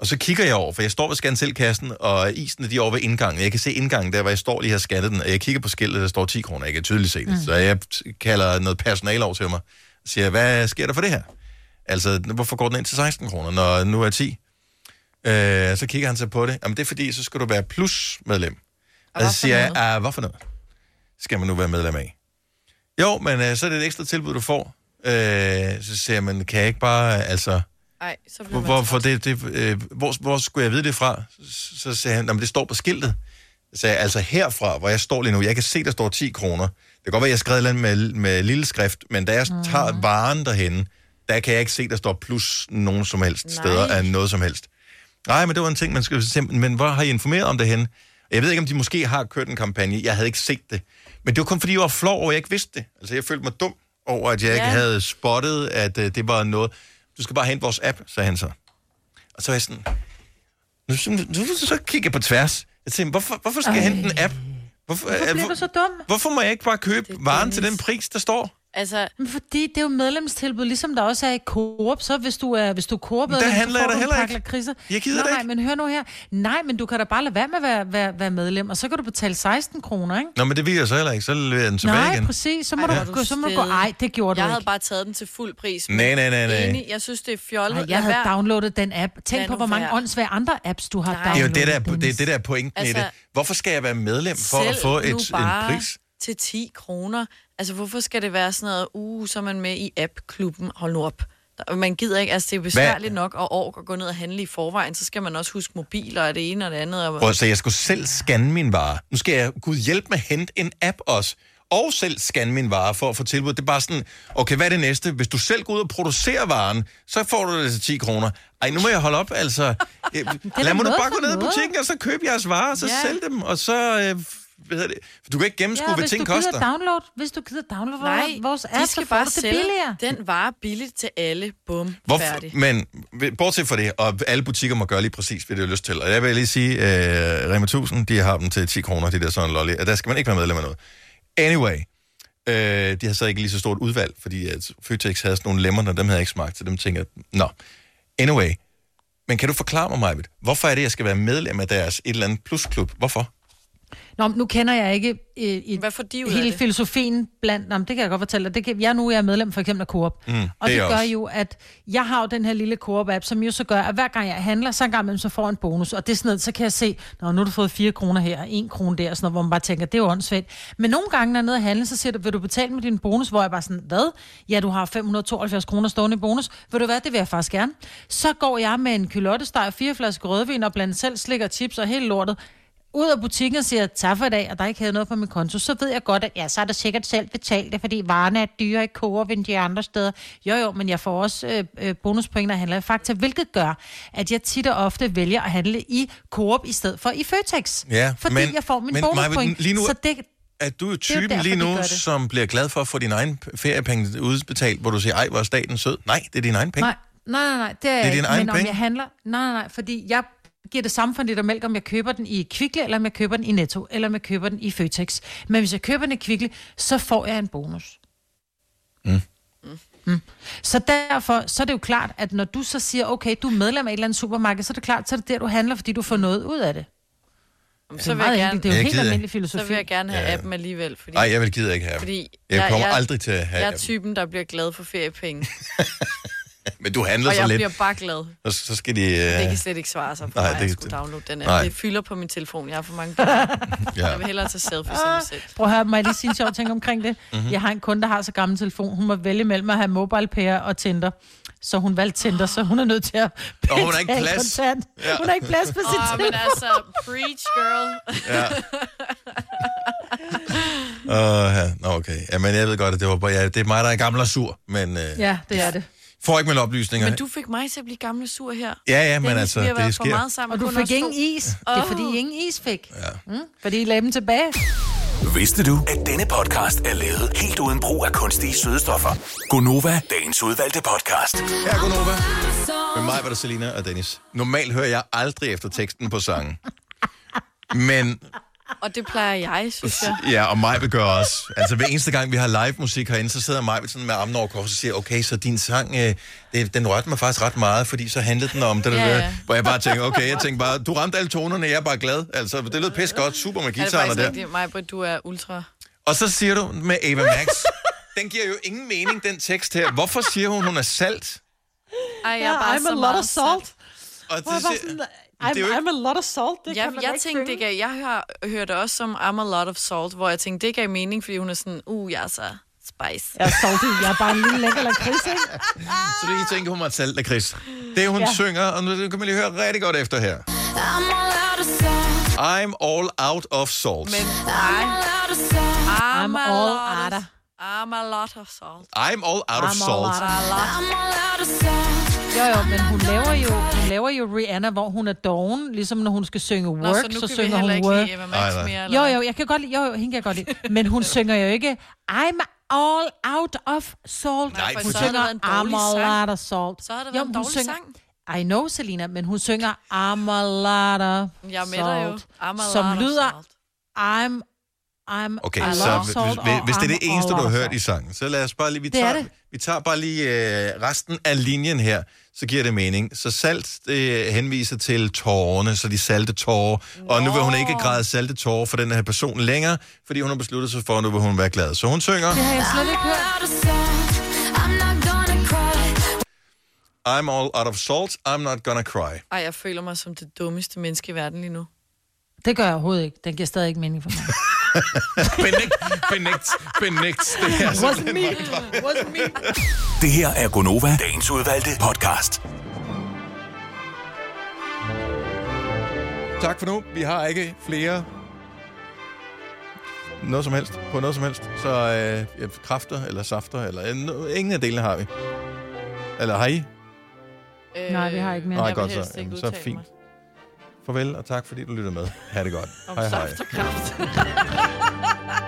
A: Og så kigger jeg over, for jeg står ved scanselkassen, og isen de er over ved indgangen. Jeg kan se indgangen der, hvor jeg står lige har scannet den, og jeg kigger på skiltet, der står 10 kroner. Jeg kan tydeligt se det.
S: Mm.
A: Mm. Så jeg kalder noget personale over til mig, og siger, hvad sker der for det her? Altså, hvorfor går den ind til 16 kroner, når nu er 10? Øh, så kigger han så på det. Jamen, det er fordi, så skal du være plusmedlem. Og så siger jeg, "Ah, hvad for noget skal man nu være medlem af? Jo, men øh, så er det et ekstra tilbud, du får. Øh, så siger jeg, men kan jeg ikke bare, altså...
B: Ej, så bliver
A: Hvor,
B: man...
A: hvorfor det, det, øh, hvor, hvor skulle jeg vide det fra? Så, så sagde han, at det står på skiltet. Så sagde jeg, altså herfra, hvor jeg står lige nu, jeg kan se, der står 10 kroner. Det kan godt være, jeg skrev et eller andet med, med lille skrift, men da jeg tager varen derhen, der kan jeg ikke se, der står plus nogen som helst Nej. steder af noget som helst. Nej, men det var en ting, man skulle simpelthen... Men hvor har I informeret om det hen? Jeg ved ikke, om de måske har kørt en kampagne. Jeg havde ikke set det. Men det var kun fordi, jeg var flov over, at jeg ikke vidste det. Altså, jeg følte mig dum over, at jeg ja. ikke
S: Ja.
A: havde spottet, at uh, det var noget... Du skal bare hente vores app, sagde han så. Og så var jeg sådan... Nu, nu, nu, nu så kigger jeg på tværs. Jeg tænkte, hvorfor, hvorfor skal jeg
D: Ej.
A: hente en app? Hvorfor,
D: Hvorfor
A: øh,
D: bliver
A: hvor-
D: du så dum?
A: hvorfor må jeg ikke bare købe varen til den pris, der står?
B: Altså...
D: Men fordi det er jo medlemstilbud, ligesom der også er i Coop, så hvis du er, hvis du er coop
A: Men der handler jeg da heller ikke.
D: Kriser.
A: Jeg gider
D: nej,
A: det
D: nej, men hør nu her. Nej, men du kan da bare lade være med at være, være, være medlem, og så kan du betale 16 kroner, ikke?
A: Nå, men det vil jeg så heller ikke. Så leverer jeg den tilbage
D: Nej,
A: igen.
D: præcis. Så må,
A: Ej,
D: Ej,
A: hvor er
D: du,
A: du
D: gå, så må du gå.
B: stedig.
D: Ej, det gjorde
B: jeg
D: du
B: havde
D: ikke.
B: bare taget den til fuld pris.
A: Nej, nej, nej, nej.
B: Enig, jeg synes, det er fjollet.
D: Ej,
B: Lad
D: jeg havde
B: være.
D: downloadet den app. Tænk
B: Lad
D: på,
B: nu
D: hvor mange
B: være.
D: åndssvage andre apps, du har
B: Nej.
A: Det er jo
D: downloadet.
A: det, der, er- det, er det der er pointen altså, i det.
B: Altså,
A: Hvorfor skal jeg være medlem for at
B: Sælg
A: få et,
B: nu
A: en
B: bare
A: pris?
B: til 10 kroner. Altså, hvorfor skal det være sådan noget, uh, så er man med i app-klubben, hold nu op. Der- Man gider ikke, altså det er besværligt nok at ork at gå ned og handle i forvejen, så skal man også huske mobiler og det ene og det andet. Og...
A: Prøv, at se, jeg skulle selv scanne min vare. Nu skal jeg, gud hjælpe med at hente en app også. Og selv scanne min vare for at få tilbud. Det er bare sådan, okay, hvad er det næste? Hvis du selv går ud og producerer varen, så får du det til 10 kroner. Ej, nu må jeg holde op, altså. Øh,
S: da
A: Lad mig nu
S: noget
A: bare
S: for
A: gå ned i
S: noget.
A: butikken, og så købe jeres varer, og så
D: Ja.
A: ja. sælge dem, og så... Øh, hvad hedder det? For Du kan ikke gennemskue, ja, hvad
D: hvis
A: ting
D: du gider
A: koster.
D: Download, hvis du gider downloade
B: Nej,
D: vores
B: de
D: app, så
B: skal
D: får du
B: bare
D: det
B: sælge
D: billigere.
B: Den varer billigt til alle. Bum, færdig.
A: Hvorfor, Mm, men ved- bortset fra det, og alle butikker må gøre lige præcis, hvad de har lyst til. Og jeg vil lige sige, øh, Rema 1000, de har dem til 10 kroner, de der sådan lolly. Og der skal man ikke være medlem af noget. Anyway, øh, de har så ikke lige så stort udvalg, fordi at Føtex havde sådan nogle lemmer, og dem havde jeg ikke smagt, så dem tænker jeg, nå. Anyway, men kan du forklare mig, Majbet, hvorfor er det, jeg skal være medlem af deres et eller andet plusklub? Hvorfor?
D: Nå, men nu kender jeg ikke øh, i hele
B: det?
D: filosofien blandt... Nå, men det kan jeg godt fortælle dig. Det kan, jeg nu er jeg medlem for eksempel af Coop.
S: Mm,
D: og
S: det
D: det,
S: er jeg
D: gør
S: også.
D: jo, at jeg har jo den her lille Coop-app, som jo så gør, at hver gang jeg handler, så en gang imellem, så får jeg en bonus. Og det er sådan noget, så kan jeg se, Nå, nu har du fået 4 kroner her, 1 krone der, og sådan noget, hvor man bare tænker, det er jo åndssvagt. Men nogle gange, når jeg er nede og handle, så siger du, vil du betale med din bonus? Hvor jeg bare sådan, hvad? Ja, du har 572 kroner stående i bonus. Vil du hvad, det vil jeg faktisk gerne. Så går jeg med en kylottesteg, fire flasker rødvin og blandt selv slik og chips og hele lortet ud af butikken og siger, tak for i dag, og der ikke havde noget på min konto, så ved jeg godt, at ja, så er der sikkert selv betalt det, fordi varerne er dyre i Coop end de andre steder. Jo, jo, men jeg får også øh, øh, bonuspoint, når jeg handler i Fakta, hvilket gør, at jeg tit og ofte vælger at handle i Coop i stedet for i Føtex.
A: Ja,
D: fordi
A: men-
D: jeg får min
A: men Maja,
D: bonuspoint.
A: lige nu-
D: så det,
A: Er du jo
D: Det er jo
A: typen
D: derfor,
A: lige
D: de
A: nu,
D: gør det.
A: som bliver glad for at få dine egne feriepenge udbetalt, hvor du siger, ej, hvor er staten sød? Nej, det er dine egne penge.
D: Nej, nej, nej, nej det er,
A: Det er
D: jeg
A: dine
D: ikke.
A: egne
D: men om
A: penge.
D: jeg handler... Nej, nej, nej, fordi jeg giver det samme for en liter mælk, om jeg køber den i Kvickly, eller om jeg køber den i Netto, eller om jeg køber den i Føtex. Men hvis jeg køber den i Kvickly, så får jeg en bonus.
A: Mm.
D: Mm. Så derfor, så er det jo klart, at når du så siger, okay, du er medlem af et eller andet supermarked, så er det klart, så er det der, du handler, fordi du får noget ud af det.
B: Jamen,
D: Det
B: så
D: er
B: vil jeg
D: meget
B: gerne,
D: enkelt. Det er jo Jeg helt gider almindelig ikke.
B: Så vil jeg gerne have
A: Ja.
B: appen alligevel. Fordi,
A: Nej, jeg vil gider ikke have appen.
B: Fordi
A: Jeg kommer aldrig til at have
B: Jeg er
A: appen.
B: typen, der bliver glad for feriepenge.
A: Men du handler
B: Og
A: så
B: jeg
A: lidt.
B: bliver bare glad.
A: Så, så skal de...
B: Ja. Det
A: Øh,
B: kan slet ikke svare sig for
A: Nej,
B: Nej, mig,
A: det
B: at
A: kan-
B: skulle downloade den
A: Nej.
B: app. Det fylder på min telefon. Jeg har for mange billeder.
A: Ja.
B: ja. Jeg vil hellere tage selfies end mig selv.
D: Prøv at høre, må jeg lige sige en sjov ting omkring det?
B: Mhm.
D: Mm-hmm. Jeg har en kunde, der har så gammel telefon. Hun må vælge mellem at have mobile pair og Tinder. Så hun valgte Tinder, så hun er nødt til at
A: Og hun har ikke
D: betale
A: plads.
D: kontant.
A: Ja.
D: Hun har ikke plads på sit
B: Åh,
D: oh,
B: men
D: telefon.
B: altså, preach, girl.
A: Ah. Ja. øh, ja. Nå, okay. Ja, men jeg ved godt, at det, var bare, ja, det er mig, der er gammel og sur, men øh,
D: Ja, det er det.
A: får ikke med oplysninger.
B: Men du fik mig til at blive gammel og sur her.
A: Ja, ja, men
B: Dennis,
A: altså,
B: vi har
A: det
B: været
A: sker.
B: For meget sammen,
D: Og du
B: kun
D: fik
B: os
D: ingen
B: to.
D: is. Det er fordi,
B: Åh.
D: ingen is fik. Ja. Mm, fordi I lagde dem tilbage.
E: Vidste du, at denne podcast er lavet helt uden brug af kunstige sødestoffer? Gonova, dagens udvalgte podcast.
A: Her er Gunova. Med mig var der Selina og Dennis. Normalt hører jeg aldrig efter teksten på sangen. Men,
B: Og det plejer jeg, synes jeg.
A: ja, og mig vil gøre også. Altså, hver eneste gang, vi har live musik herinde, så sidder mig sådan med armen over korset og siger, okay, så din sang, øh, det, den rørte mig faktisk ret meget, fordi så handlede den om det,
B: Ja,
A: der,
B: ja.
A: hvor jeg bare tænker, okay, jeg tænker bare, du ramte alle tonerne, jeg er bare glad. Altså, det lød pis godt, super med
B: Er det
A: guitarerne
B: faktisk
A: der.
B: rigtigt, Maja, du er ultra...
A: Og så siger du med Ava Max, den giver jo ingen mening, den tekst her. Hvorfor siger hun, hun er salt?
B: Ej, jeg er
D: Ja,
B: bare
D: I'm
B: så
D: a lot
B: meget
D: of salt.
A: Og
D: Hvor jeg bare
A: siger-
D: sådan,
A: er jo
D: I'm,
A: ikke-
D: I'm a lot of salt. Det
B: Jeg,
D: kan man da
B: jeg
D: ikke
B: tænkte, det
D: synge.
B: gav, jeg har hørt det også som I'm a lot of salt, hvor jeg tænkte, det gav mening, fordi hun er sådan, uh, jeg er så spice.
D: Jeg er salty, jeg er bare en lille lækker lakrids, ikke?
A: Så det, I tænker, hun var salt af Chris. Det, hun ja.
D: Ja.
A: synger, og nu kan man lige høre rigtig godt efter her. I'm all out of salt.
B: Men
A: Men...
B: nej. I'm,
D: I'm
B: a
D: all
B: lot of-
D: out of-
B: I'm a lot of salt.
A: I'm all out of
D: I'm
A: salt.
D: all out of-
B: A lot.
D: Jo, jo, men hun laver jo, hun laver jo Rihanna, hvor hun er doven, ligesom når hun skal synge
B: Nå,
D: work,
B: så nu
D: så,
B: kan vi
D: synger
B: heller
D: hun
B: ikke
D: work.
B: lide Eva
A: Nej,
B: Max
A: nej.
B: mere, eller
D: Jo,
B: hvad?
D: jo, jeg kan godt lide, jo, jo, hende kan jeg godt lide. Men hun synger jo ikke, I'm all out of salt.
A: Nej, for
D: hun
A: så har det
D: synger,
B: været en dårlig
D: I'm all
B: sang.
D: out of salt.
B: Så har det
D: Jo,
B: været en
D: men hun
B: dårlig
D: synger-
B: sang.
D: I know, Selina, men hun synger I'm a lot of
B: Jeg er med dig jo.
D: salt,
B: I'm a
D: som
B: lot of
D: lyder I'm, I'm
A: Okay,
D: a lot
A: så
D: of
A: hvis,
D: salt
A: hvis,
D: og
A: hvis det er
D: I'm
A: det eneste, du
D: all
A: har
D: out of
A: hørt i sangen, så lad os bare lige... Vi
D: Det er
A: tager,
D: det.
A: vi tager bare lige øh, resten af linjen her, så giver det mening. Så salt øh, henviser til tårerne, så de salte tårer. Og nu vil hun ikke græde salte tårer for den her person længere, fordi hun har besluttet sig for, at nu vil hun være glad. Så hun synger...
D: Det har jeg slet ikke hørt.
A: I'm all out of salt, I'm not gonna cry.
B: Ej, jeg føler mig som det dummeste menneske i verden lige nu.
D: Det gør jeg overhovedet ikke. Den giver stadig ikke mening for mig.
A: benægt, benægt, benægt. Det er
D: Wasn't
A: simpelthen
D: me.
A: meget godt.
D: Wasn't me.
E: Det her er Gonova, dagens udvalgte podcast.
A: Tak for nu. Vi har ikke flere noget som helst på noget som helst. Så øh, ja, kræfter eller safter eller øh, ingen af delene har vi. Eller har I?
B: Øh,
D: Nej, vi har ikke mere.
A: Nej,
B: jeg vil
A: godt så.
B: helst ikke
A: Jamen, så
B: udtale
A: fint.
B: mig.
A: Farvel og tak fordi du lyttede med. Ha' det godt.
B: Om
A: hej hej.
B: saft og kraft.